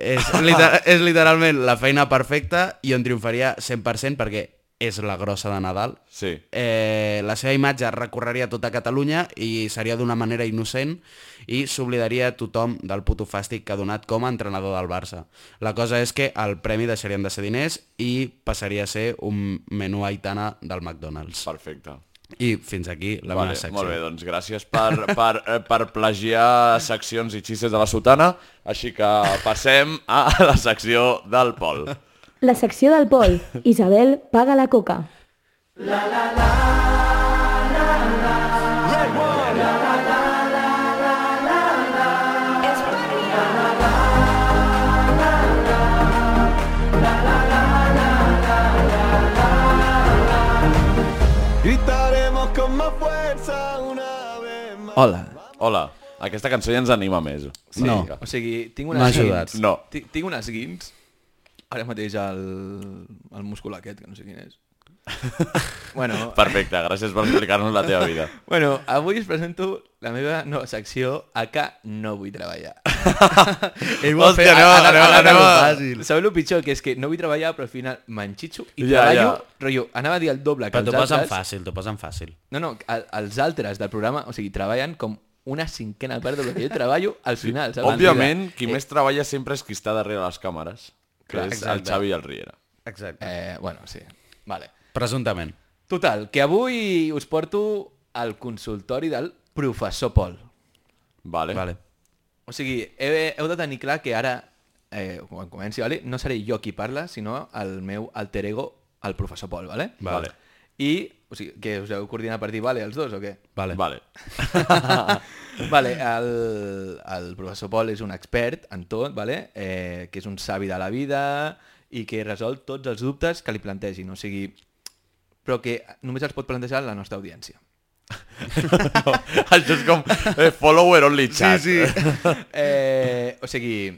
Speaker 6: És,
Speaker 3: [LAUGHS]
Speaker 6: liter és literalment la feina perfecta i on triomfaria 100% perquè és la grossa de Nadal.
Speaker 3: Sí.
Speaker 6: Eh, la seva imatge recorreria tota Catalunya i seria d'una manera innocent i s'oblidaria tothom del puto fàstic que ha donat com a entrenador del Barça. La cosa és que el premi deixarien de ser diners i passaria a ser un menú aitana del McDonald's.
Speaker 3: Perfecte.
Speaker 6: I fins aquí la
Speaker 3: Vale,
Speaker 6: meva secció.
Speaker 3: molt bé, doncs gràcies per, per, eh, per plagiar seccions i xistes de la sotana. Així que passem a la secció del Pol.
Speaker 1: La secció del Pol. Isabel paga la coca.
Speaker 8: Gritaremos con más fuerza una vez más.
Speaker 7: Hola.
Speaker 3: Hola, aquesta cançó ja ens anima més.
Speaker 6: No.
Speaker 7: O sigui, tinc
Speaker 6: M'ha
Speaker 7: unes
Speaker 6: ajudat.
Speaker 7: guins.
Speaker 3: No.
Speaker 7: Ti- Tinc unes guins. Ara mateix el, el múscul aquest, que no sé quin
Speaker 6: [LAUGHS]
Speaker 7: és. bueno,
Speaker 3: Perfecte, gràcies per explicar-nos la teva vida.
Speaker 7: bueno, avui us presento la meva nova secció a que no vull treballar.
Speaker 6: Ell ho ha
Speaker 3: Hòstia,
Speaker 6: fet-
Speaker 3: anem,
Speaker 6: ha-
Speaker 8: Ah,
Speaker 3: a-
Speaker 6: ha-
Speaker 3: anem,
Speaker 6: ha-
Speaker 3: a-
Speaker 6: ha-
Speaker 3: anem,
Speaker 6: ha-
Speaker 3: a-
Speaker 6: fàcil.
Speaker 7: Sabeu el pitjor? Que és que no vull treballar, però al final m'enxitxo
Speaker 3: Ja,
Speaker 7: i ja, treballo,
Speaker 3: ja.
Speaker 7: ja. rotllo, anava a dir el doble que
Speaker 6: Però t'ho
Speaker 7: els
Speaker 6: posen
Speaker 7: altres.
Speaker 6: fàcil, t'ho posen fàcil.
Speaker 7: No, no, el, els altres del programa, o sigui, treballen com una cinquena part del que jo treballo al final. saps?
Speaker 3: Òbviament, qui més treballa sempre és qui està darrere les càmeres, que
Speaker 7: Clar,
Speaker 3: és el
Speaker 7: exacte.
Speaker 3: Xavi i el Riera.
Speaker 6: Exacte.
Speaker 7: Eh, bueno, sí. Vale.
Speaker 6: Presumptament.
Speaker 7: Total, que avui us porto al consultori del professor Pol.
Speaker 3: Vale.
Speaker 6: Vale.
Speaker 7: O sigui, he, heu de tenir clar que ara, eh, quan comenci, vale? no seré jo qui parla, sinó el meu alter ego, el professor Pol, vale?
Speaker 3: Vale.
Speaker 7: I, o sigui, que us heu coordinat per dir vale els dos o què?
Speaker 3: Vale. vale.
Speaker 7: vale, el, el professor Pol és un expert en tot, vale? eh, que és un savi de la vida i que resol tots els dubtes que li plantegin, o sigui, però que només els pot plantejar la nostra audiència.
Speaker 3: No, [LAUGHS] això és com eh, follower only chat. Sí, sí.
Speaker 7: Eh, o sigui,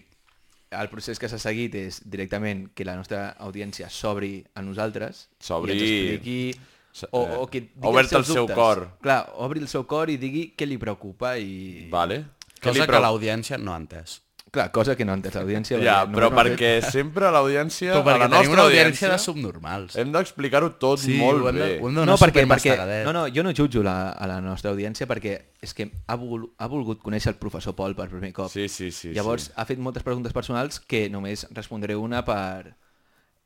Speaker 7: el procés que s'ha seguit és directament que la nostra audiència s'obri a nosaltres
Speaker 3: S'obri.
Speaker 7: i ens expliqui
Speaker 3: S-
Speaker 7: o,
Speaker 3: eh,
Speaker 7: o que digui
Speaker 3: obert
Speaker 7: els
Speaker 3: el
Speaker 7: seus
Speaker 3: seu
Speaker 7: dubtes.
Speaker 3: cor.
Speaker 7: Clar, obri el seu cor i digui què li preocupa i...
Speaker 3: Vale. Què li
Speaker 6: Cosa que
Speaker 3: preu-
Speaker 6: l'audiència no ha entès.
Speaker 7: Clar, cosa que no ha entès l'audiència.
Speaker 3: Ja,
Speaker 7: perquè
Speaker 3: però
Speaker 7: no-
Speaker 3: perquè sempre l'audiència...
Speaker 6: Però perquè
Speaker 3: a la
Speaker 6: tenim
Speaker 3: nostra
Speaker 6: una audiència de subnormals.
Speaker 3: Hem d'explicar-ho tot
Speaker 6: Sí,
Speaker 3: molt
Speaker 6: ho hem de-
Speaker 3: bé.
Speaker 6: ho hem de- No,
Speaker 7: No, no, eh?
Speaker 6: no,
Speaker 7: perquè, perquè,
Speaker 6: supermastagadet.
Speaker 7: no, no, jo no jutjo la, a la nostra audiència perquè és que ha, vol, ha volgut conèixer el professor Pol per primer cop.
Speaker 3: Sí, sí, sí,
Speaker 7: Llavors
Speaker 3: sí.
Speaker 7: ha fet moltes preguntes personals que només respondré una per,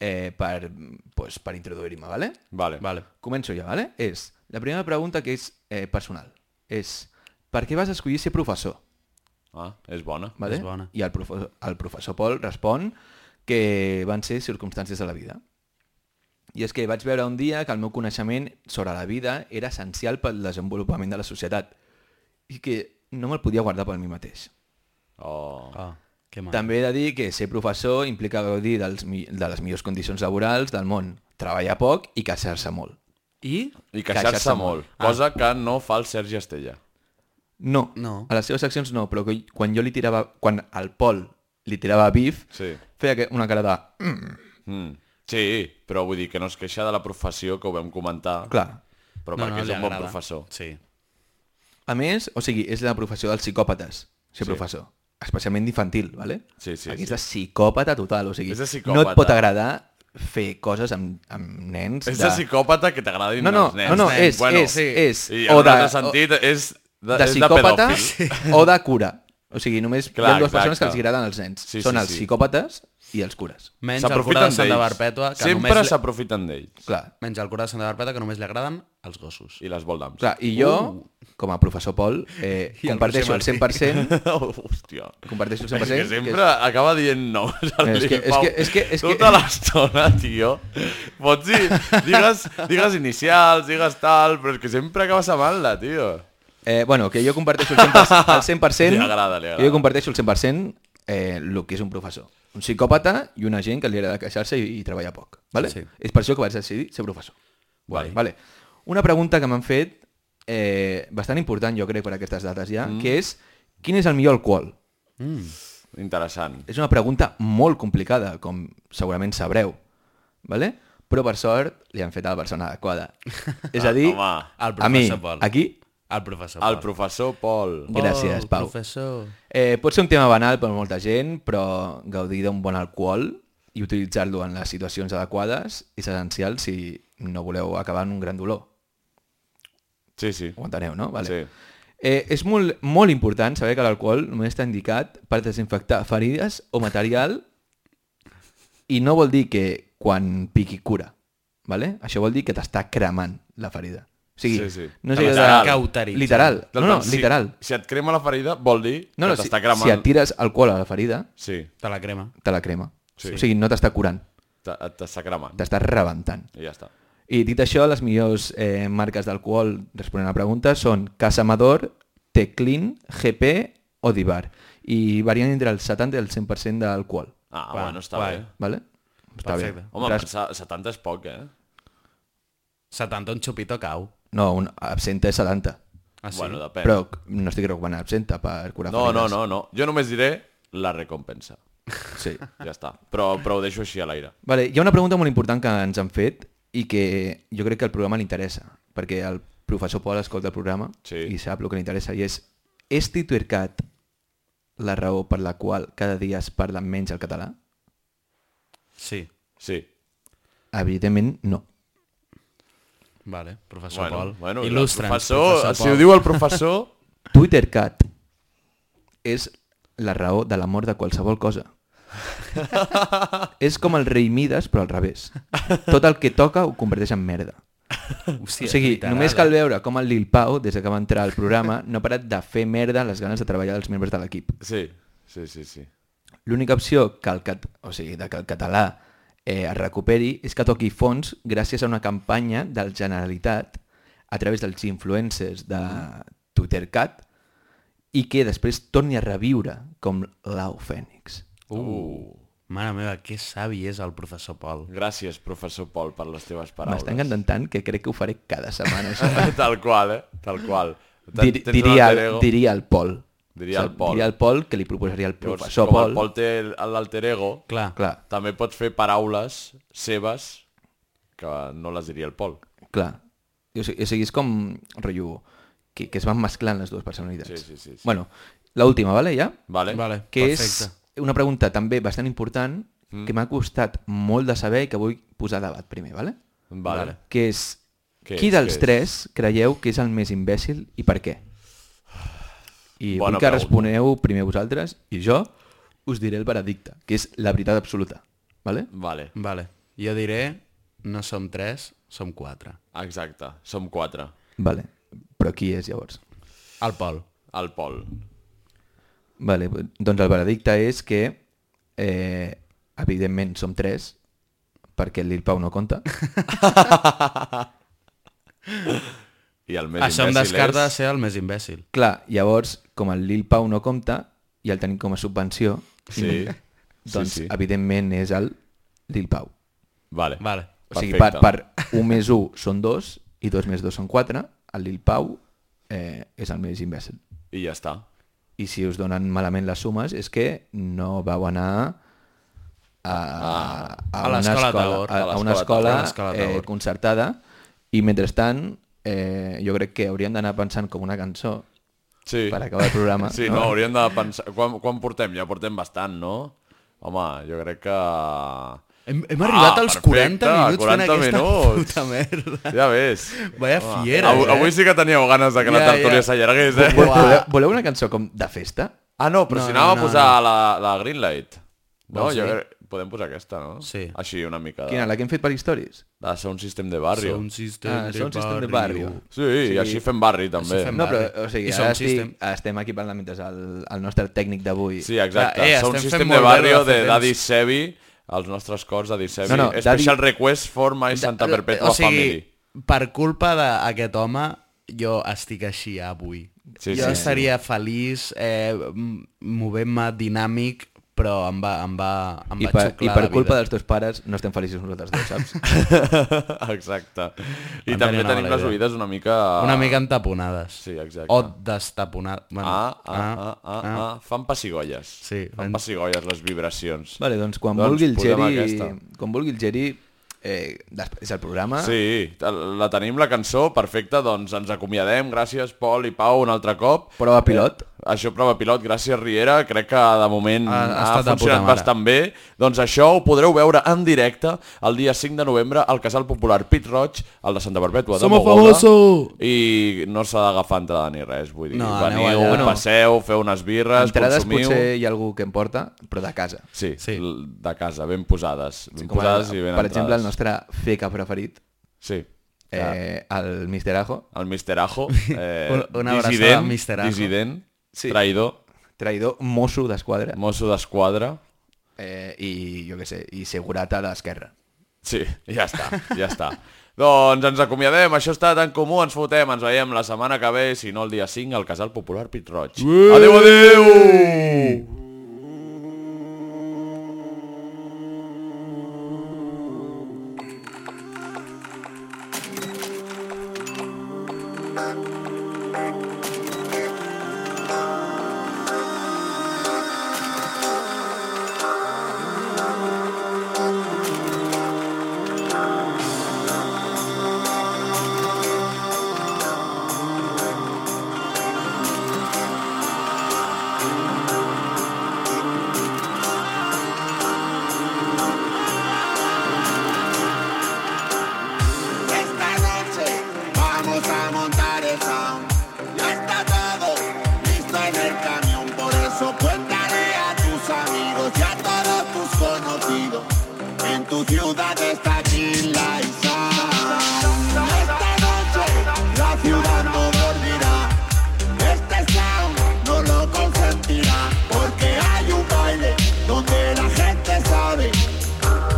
Speaker 7: eh, per, pues, per introduir-me, ¿vale?
Speaker 3: Vale.
Speaker 6: Vale.
Speaker 7: Començo ja, ¿vale? És, la primera pregunta que és eh, personal és per què vas escollir ser professor?
Speaker 3: Ah, és bona.
Speaker 7: ¿vale?
Speaker 6: És bona.
Speaker 7: I el professor, el professor Pol respon que van ser circumstàncies de la vida. I és que vaig veure un dia que el meu coneixement sobre la vida era essencial pel desenvolupament de la societat i que no me'l podia guardar per mi mateix.
Speaker 3: Oh.
Speaker 6: Ah, que mal.
Speaker 7: També he de dir que ser professor implica gaudir dels, mi- de les millors condicions laborals del món, treballar poc i casar-se molt.
Speaker 6: I?
Speaker 3: I queixar-se molt.
Speaker 7: Ah.
Speaker 3: Cosa que no fa el Sergi Estella.
Speaker 7: No,
Speaker 6: No.
Speaker 7: a les seves accions no, però que quan jo li tirava, quan al Pol li tirava bif,
Speaker 3: Sí.
Speaker 7: feia que una cara de... "Mm",
Speaker 3: Mm. Sí, però vull dir que no es queixa de la professió, que ho vam comentar,
Speaker 7: Clar,
Speaker 3: però perquè
Speaker 6: li
Speaker 3: és un bon
Speaker 6: agrada.
Speaker 3: professor.
Speaker 6: Sí.
Speaker 7: A més, o sigui, és la professió dels psicòpates, ser sí. professor. Especialment d'infantil, ¿vale?
Speaker 3: Sí, sí,
Speaker 7: Aquí és
Speaker 3: sí.
Speaker 7: de psicòpata total, o sigui,
Speaker 3: És de
Speaker 7: no
Speaker 3: psicòpata.
Speaker 7: et pot agradar fer coses amb, amb nens
Speaker 3: És de psicòpata que t'agradin
Speaker 7: No, no,
Speaker 3: els nens.
Speaker 7: no, no,
Speaker 3: nens.
Speaker 7: és, és, és.
Speaker 3: I
Speaker 7: O
Speaker 3: en un
Speaker 7: de-
Speaker 3: altre sentit, és de,
Speaker 7: de, de
Speaker 3: és de
Speaker 7: psicòpata
Speaker 3: pedòfil.
Speaker 7: o de cura. O sigui, només Clar, hi
Speaker 3: Clar,
Speaker 7: ha dues persones
Speaker 3: exacte.
Speaker 7: que els agraden els nens.
Speaker 3: Sí,
Speaker 7: Sí, Són
Speaker 3: sí,
Speaker 7: sí, els
Speaker 3: sí.
Speaker 7: psicòpates i els cures.
Speaker 6: Menys el cura de
Speaker 3: S'aprofiten
Speaker 6: Santa
Speaker 3: d'ells.
Speaker 6: Barpètua, que
Speaker 3: Sempre
Speaker 6: només... li-
Speaker 3: s'aprofiten d'ells.
Speaker 7: Clar.
Speaker 6: Menys el cura de Santa Barpètua, que només li agraden els gossos.
Speaker 3: I les voldams.
Speaker 7: Clar, I jo, uh. com a professor Pol, eh,
Speaker 6: I el
Speaker 7: comparteixo el
Speaker 6: Roger
Speaker 7: 100%,
Speaker 3: Oh, [LAUGHS] hòstia.
Speaker 7: comparteixo el 100%,
Speaker 3: És que
Speaker 7: que
Speaker 3: sempre acaba dient no. [LAUGHS]
Speaker 7: És que- és que- és que- és que-
Speaker 3: Tota l'estona, tio. Pots dir... Digues, digues inicials, digues tal, però és que sempre acabes amant-la, tio.
Speaker 7: Eh, bueno, que jo comparteixo el 100%, el 100%
Speaker 3: Li agrada, li agrada.
Speaker 7: jo comparteixo el 100% eh, el que és un professor. Un psicòpata i una gent que li agrada queixar-se i, i treballar poc. Vale?
Speaker 6: Sí.
Speaker 7: Sí. És per això que vaig decidir ser professor.
Speaker 3: Guai.
Speaker 7: Vale. Una pregunta que m'han fet, eh, bastant important jo crec per aquestes dates ja, mm. que és quin és el millor alcohol?
Speaker 3: Interessant.
Speaker 7: És una pregunta molt complicada, com segurament sabreu. Vale? Però per sort li han fet a la persona adequada. És a dir,
Speaker 3: home,
Speaker 6: el
Speaker 7: a mi,
Speaker 6: professor Pol.
Speaker 7: aquí,
Speaker 6: El professor.
Speaker 3: El
Speaker 6: Pol.
Speaker 3: professor Pol.
Speaker 7: gràcies,
Speaker 6: Oh,
Speaker 7: Pau.
Speaker 6: professor.
Speaker 7: Eh, pot ser un tema banal per molta gent, però gaudir d'un bon alcohol i utilitzar-lo en les situacions adequades és essencial si no voleu acabar en un gran dolor.
Speaker 3: Sí, sí.
Speaker 7: Ho enteneu, no? Vale.
Speaker 3: Sí.
Speaker 7: Eh, és molt, molt important saber que l'alcohol només està indicat per desinfectar ferides o material i no vol dir que quan piqui cura. Vale? Això vol dir que t'està cremant la ferida. O sigui,
Speaker 3: Sí, sí.
Speaker 7: no és
Speaker 6: Te
Speaker 7: allò
Speaker 6: l'està
Speaker 7: de-
Speaker 6: cauteritzant.
Speaker 7: Literal. No, no,
Speaker 3: Si-
Speaker 7: literal.
Speaker 3: Si, et crema la ferida, vol dir
Speaker 7: No, no,
Speaker 3: que
Speaker 7: si,
Speaker 3: t'està cremant.
Speaker 7: si et tires alcohol a la ferida,
Speaker 3: Sí,
Speaker 6: Te la crema.
Speaker 7: te la crema.
Speaker 3: Sí.
Speaker 7: Sí. O sigui, no t'està curant,
Speaker 3: te- et- t'està cremant.
Speaker 7: t'està rebentant.
Speaker 3: I ja està.
Speaker 7: I dit això, les millors eh, marques d'alcohol, responent a la pregunta, són Casa Amador, Teclin, GP o Dibar. I varien entre el 70 i el 100% d'alcohol.
Speaker 3: Ah,
Speaker 6: Guai,
Speaker 3: bueno, està
Speaker 6: guai.
Speaker 3: bé.
Speaker 7: Vale? Està
Speaker 6: Perfecte.
Speaker 7: bé.
Speaker 3: Home,
Speaker 7: Res-
Speaker 3: pensar, 70 és poc, eh?
Speaker 6: 70 un xupito cau.
Speaker 7: No, un absenta és 70.
Speaker 6: Ah, sí?
Speaker 3: Bueno, depèn.
Speaker 7: Però no estic recomanant absenta per curar
Speaker 3: No, no,
Speaker 7: ferides.
Speaker 3: no, no. Jo només diré la recompensa.
Speaker 7: Sí.
Speaker 3: Ja està. Però, però ho deixo així a l'aire.
Speaker 7: Vale, hi ha una pregunta molt important que ens han fet i que jo crec que el programa l'interessa, perquè el professor Pol escolta el programa
Speaker 3: Sí.
Speaker 7: i sap el que l'interessa, i és és TwitterCat la raó per la qual cada dia es parla menys el català?
Speaker 6: Sí.
Speaker 3: Sí.
Speaker 7: Evidentment, no.
Speaker 6: Vale, professor
Speaker 3: Bueno,
Speaker 6: Pol.
Speaker 3: bueno,
Speaker 6: Il·lustra'ns,
Speaker 3: el professor, si ho
Speaker 6: Pol.
Speaker 3: diu el
Speaker 7: [LAUGHS]
Speaker 3: professor...
Speaker 7: TwitterCat és la raó de la mort de qualsevol cosa. és com el rei Mides, però al revés. Tot el que toca ho converteix en merda.
Speaker 6: Hòstia,
Speaker 7: o sigui,
Speaker 6: literal,
Speaker 7: només
Speaker 6: eh?
Speaker 7: cal veure com el Lil Pau, des que va entrar al programa, no ha parat de fer merda les ganes de treballar dels membres de l'equip.
Speaker 3: Sí, sí, sí, sí.
Speaker 7: L'única opció que el, cat... o sigui, de que el català eh, es recuperi és que toqui fons gràcies a una campanya del Generalitat a través dels influencers de TwitterCat i que després torni a reviure com l'Au Fènix.
Speaker 6: Uh. Mare meva, que savi és el professor Pol.
Speaker 3: Gràcies, professor Pol, per les teves paraules.
Speaker 7: M'està encantant tant que crec que ho faré cada setmana. Això.
Speaker 3: [LAUGHS] Tal qual, eh? Tal qual. Ten-
Speaker 7: Dir,
Speaker 3: tens un
Speaker 7: diria,
Speaker 3: alter ego.
Speaker 7: diria el Pol.
Speaker 3: Diria el Pol.
Speaker 7: Diria el Pol que li proposaria el
Speaker 3: Llavors,
Speaker 7: professor
Speaker 3: com
Speaker 7: Pol.
Speaker 3: el Pol té el- l'alter ego,
Speaker 6: Clar.
Speaker 7: Clar,
Speaker 3: també pots fer paraules seves que no les diria el Pol.
Speaker 7: clar. O sigui, o sigui, és com, rotllo, que, que es van mesclant les dues personalitats.
Speaker 3: Sí, sí, sí, sí.
Speaker 7: Bueno, l'última, vale, ja?
Speaker 3: Vale.
Speaker 6: Vale.
Speaker 7: Que
Speaker 6: Perfecte.
Speaker 7: és una pregunta també bastant important
Speaker 3: Mm.
Speaker 7: que m'ha costat molt de saber i que vull posar a debat primer, vale?
Speaker 3: Vale.
Speaker 7: Que és,
Speaker 3: Què
Speaker 7: qui
Speaker 3: és,
Speaker 7: dels
Speaker 3: què és?
Speaker 7: tres creieu que és el més imbècil i per què? I
Speaker 3: Bona
Speaker 7: vull que
Speaker 3: pregunta.
Speaker 7: responeu primer vosaltres i jo us diré el veredicte, que és la veritat absoluta, vale?
Speaker 3: Vale.
Speaker 6: Vale. Jo diré, no som tres, som quatre.
Speaker 3: Exacte. Som quatre.
Speaker 7: Vale. Però qui és llavors?
Speaker 6: El Pol.
Speaker 3: El Pol.
Speaker 7: Vale, doncs el veredicte és que eh, evidentment som tres perquè el Lil Pau no
Speaker 3: [LAUGHS]
Speaker 7: compta
Speaker 3: I el més
Speaker 6: Això em
Speaker 3: imbècil
Speaker 6: descarta de
Speaker 3: és...
Speaker 6: ser el més imbècil.
Speaker 7: clar, llavors com el Lil Pau no compta i el tenim com a subvenció
Speaker 3: Sí.
Speaker 7: doncs
Speaker 3: sí.
Speaker 6: eh,
Speaker 7: evidentment és el Lil Pau
Speaker 3: Vale.
Speaker 6: Vale.
Speaker 7: o sigui, per,
Speaker 3: Perfecte.
Speaker 7: per 1 més 1 són 2 i 2 més 2 són 4 el Lil Pau eh, és el més imbècil
Speaker 3: I ja està.
Speaker 7: i si us donen malament les sumes és que no vau anar a, a,
Speaker 6: a
Speaker 7: una
Speaker 6: l'escola
Speaker 7: escola,
Speaker 6: Tabor,
Speaker 7: a,
Speaker 6: a
Speaker 7: a una
Speaker 6: l'escola Tabor,
Speaker 7: escola,
Speaker 6: a l'escola
Speaker 7: eh,
Speaker 6: Tabor.
Speaker 7: concertada i mentrestant eh, jo crec que hauríem d'anar pensant com una cançó
Speaker 3: Sí.
Speaker 7: per acabar el
Speaker 6: [LAUGHS]
Speaker 7: programa
Speaker 3: Sí, no, hauríem de pensar... Quan, quan portem? Ja portem bastant, no? Home, jo crec que...
Speaker 6: Hem, hem arribat als 40 minuts
Speaker 3: 40
Speaker 6: fent aquesta
Speaker 3: Ah, minuts.
Speaker 6: puta merda.
Speaker 3: Ja ves.
Speaker 6: Vaya
Speaker 3: Home,
Speaker 6: fiera,
Speaker 3: Avui,
Speaker 6: eh?
Speaker 3: avui sí que teníeu ganes de que
Speaker 6: Ja,
Speaker 3: la
Speaker 6: ja.
Speaker 3: tertúlia s'allargués, eh?
Speaker 7: Vol, voleu, voleu una cançó com de festa?
Speaker 3: Ah, no, però
Speaker 6: No,
Speaker 3: si
Speaker 6: no,
Speaker 3: anàvem
Speaker 6: no,
Speaker 3: a posar la, la Greenlight. No,
Speaker 6: Vols
Speaker 3: jo
Speaker 6: dir?
Speaker 3: crec... Podem posar aquesta, no?
Speaker 6: Sí.
Speaker 3: Així, una mica.
Speaker 7: Quina,
Speaker 3: De,
Speaker 7: la que hem fet per històries?
Speaker 3: de Sound System de Barrio.
Speaker 6: Sound system
Speaker 7: Ah,
Speaker 6: de
Speaker 7: Sound System de
Speaker 6: barrio.
Speaker 7: Barrio.
Speaker 3: Sí, sí, així fem barri, també.
Speaker 6: fem
Speaker 7: No, però,
Speaker 6: Vale.
Speaker 7: o sigui,
Speaker 6: I
Speaker 7: ara
Speaker 6: Sound
Speaker 7: estic,
Speaker 6: System.
Speaker 7: estem aquí parlant mentre el, el nostre tècnic d'avui...
Speaker 3: Sí, exacte.
Speaker 6: Ah, eh,
Speaker 3: Eh, Sound
Speaker 6: estem fent
Speaker 3: System
Speaker 6: molt
Speaker 3: de
Speaker 6: bé
Speaker 3: Barrio
Speaker 6: de
Speaker 3: de
Speaker 6: fer
Speaker 3: Daddy
Speaker 6: temps.
Speaker 3: Sebi, els nostres cors Daddy Sebi.
Speaker 7: No, no,
Speaker 3: Special
Speaker 7: Daddy-
Speaker 3: request for my Santa Perpetua
Speaker 6: o sigui,
Speaker 3: Family. [LAUGHS]
Speaker 6: per culpa d'aquest home, jo estic així avui.
Speaker 3: Sí,
Speaker 6: Sí, jo
Speaker 3: sí,
Speaker 6: sí, estaria sí. feliç eh, m- movent-me dinàmic, però em va, em va, em
Speaker 7: I
Speaker 6: va
Speaker 7: per, I
Speaker 6: xuclar
Speaker 7: per
Speaker 6: la
Speaker 7: culpa
Speaker 6: vida.
Speaker 7: dels teus pares no estem feliços nosaltres dos, saps?
Speaker 3: exacte. I
Speaker 6: Em
Speaker 3: també
Speaker 6: tenia una
Speaker 3: tenim
Speaker 6: mala
Speaker 3: les
Speaker 6: idea.
Speaker 3: oïdes una mica...
Speaker 6: Una mica entaponades.
Speaker 3: Sí, exacte.
Speaker 6: O destaponades. Bueno,
Speaker 3: Ah, ah, ah, ah, ah, Fan pessigolles.
Speaker 6: Sí,
Speaker 3: Fan
Speaker 6: en-
Speaker 3: pessigolles les vibracions.
Speaker 7: Vale, doncs quan
Speaker 3: Doncs
Speaker 7: doncs vulgui el
Speaker 3: posem
Speaker 7: Geri...
Speaker 3: aquesta.
Speaker 7: Quan vulgui el Geri, eh, després del programa...
Speaker 3: Sí, la tenim, la cançó, perfecte, doncs ens acomiadem, gràcies Pol i Pau un altre cop.
Speaker 7: Prova pilot.
Speaker 3: Eh, això, prova pilot, gràcies Riera, crec que de moment ha,
Speaker 6: Ha- ha
Speaker 3: ha,
Speaker 6: estat de puta
Speaker 3: funcionat
Speaker 6: mare.
Speaker 3: bastant bé. Doncs això ho podreu veure en directe el dia 5 de novembre al Casal Popular Pit Roig, al de Santa Perpètua de
Speaker 6: Somos
Speaker 3: Mogoda.
Speaker 6: famosos!
Speaker 3: I no s'ha d'agafar entrada ni res, vull dir,
Speaker 6: No, aneu
Speaker 3: veniu,
Speaker 6: allà.
Speaker 3: passeu, feu unes birres,
Speaker 7: Entrades
Speaker 3: consumiu...
Speaker 7: potser hi ha algú que em porta, però de casa.
Speaker 3: Sí,
Speaker 6: Sí.
Speaker 3: l- de casa, ben posades. Ben
Speaker 7: Com
Speaker 3: posades
Speaker 7: el,
Speaker 3: i ben
Speaker 7: per
Speaker 3: entrades.
Speaker 7: exemple, el nostre feca preferit,
Speaker 3: Sí.
Speaker 7: eh, el Mister Ajo,
Speaker 3: el Mr.
Speaker 6: [LAUGHS]
Speaker 3: Ajo, eh,
Speaker 6: Una- una abraçada
Speaker 3: dissident,
Speaker 6: al Mr. Ajo.
Speaker 3: dissident
Speaker 7: Sí.
Speaker 3: traïdor,
Speaker 7: traïdor mosso d'esquadra
Speaker 3: mosso d'esquadra,
Speaker 7: eh, i, jo què sé, i segurata d'esquerra.
Speaker 3: sí, ja està, ja està. doncs ens acomiadem, això està tan comú, ens fotem, ens veiem la setmana que ve, si no el dia 5, al Casal Popular Pit Roig. Adéu, adéu!
Speaker 9: Esta noche vamos a montar el sound. Ya está todo listo en el camión. Por eso cuéntale a tus amigos y a todos tus conocidos. En tu ciudad está Chila y Sound. Esta noche la ciudad no dormirá. Este sound no lo consentirá. Porque hay un baile donde la gente sabe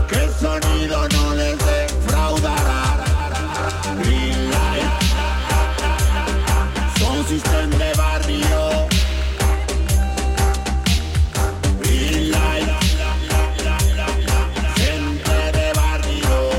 Speaker 9: que el sonido no les defraudará. Green light. Son sistema de barrio. Green light. Gente de barrio.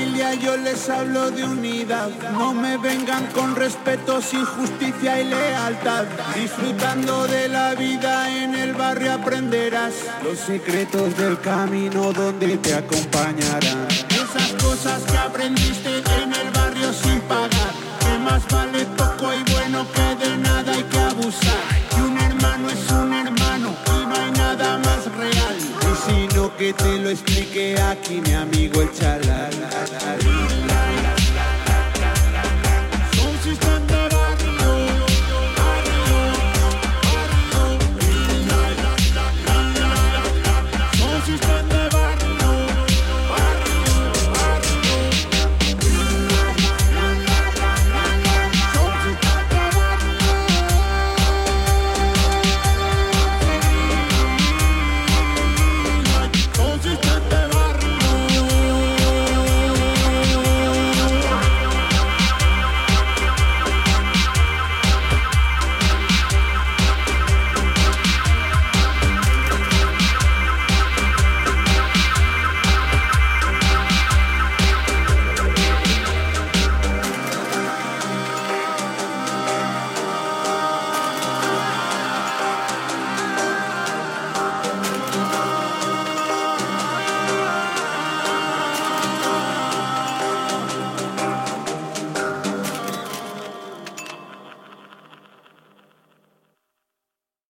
Speaker 9: vida yo les hablo de unidad. No me vengan con respeto sin justicia y lealtad. Disfrutando de la vida en el barrio aprenderás los secretos del camino donde te acompañarán. Esas cosas que aprendiste en el barrio sin pagar. Que más vale poco y bueno que de nada hay que abusar. Y un hermano es un hermano y no hay nada más real. Y si no que te lo explique aquí mi amigo el chalala. Son sistemas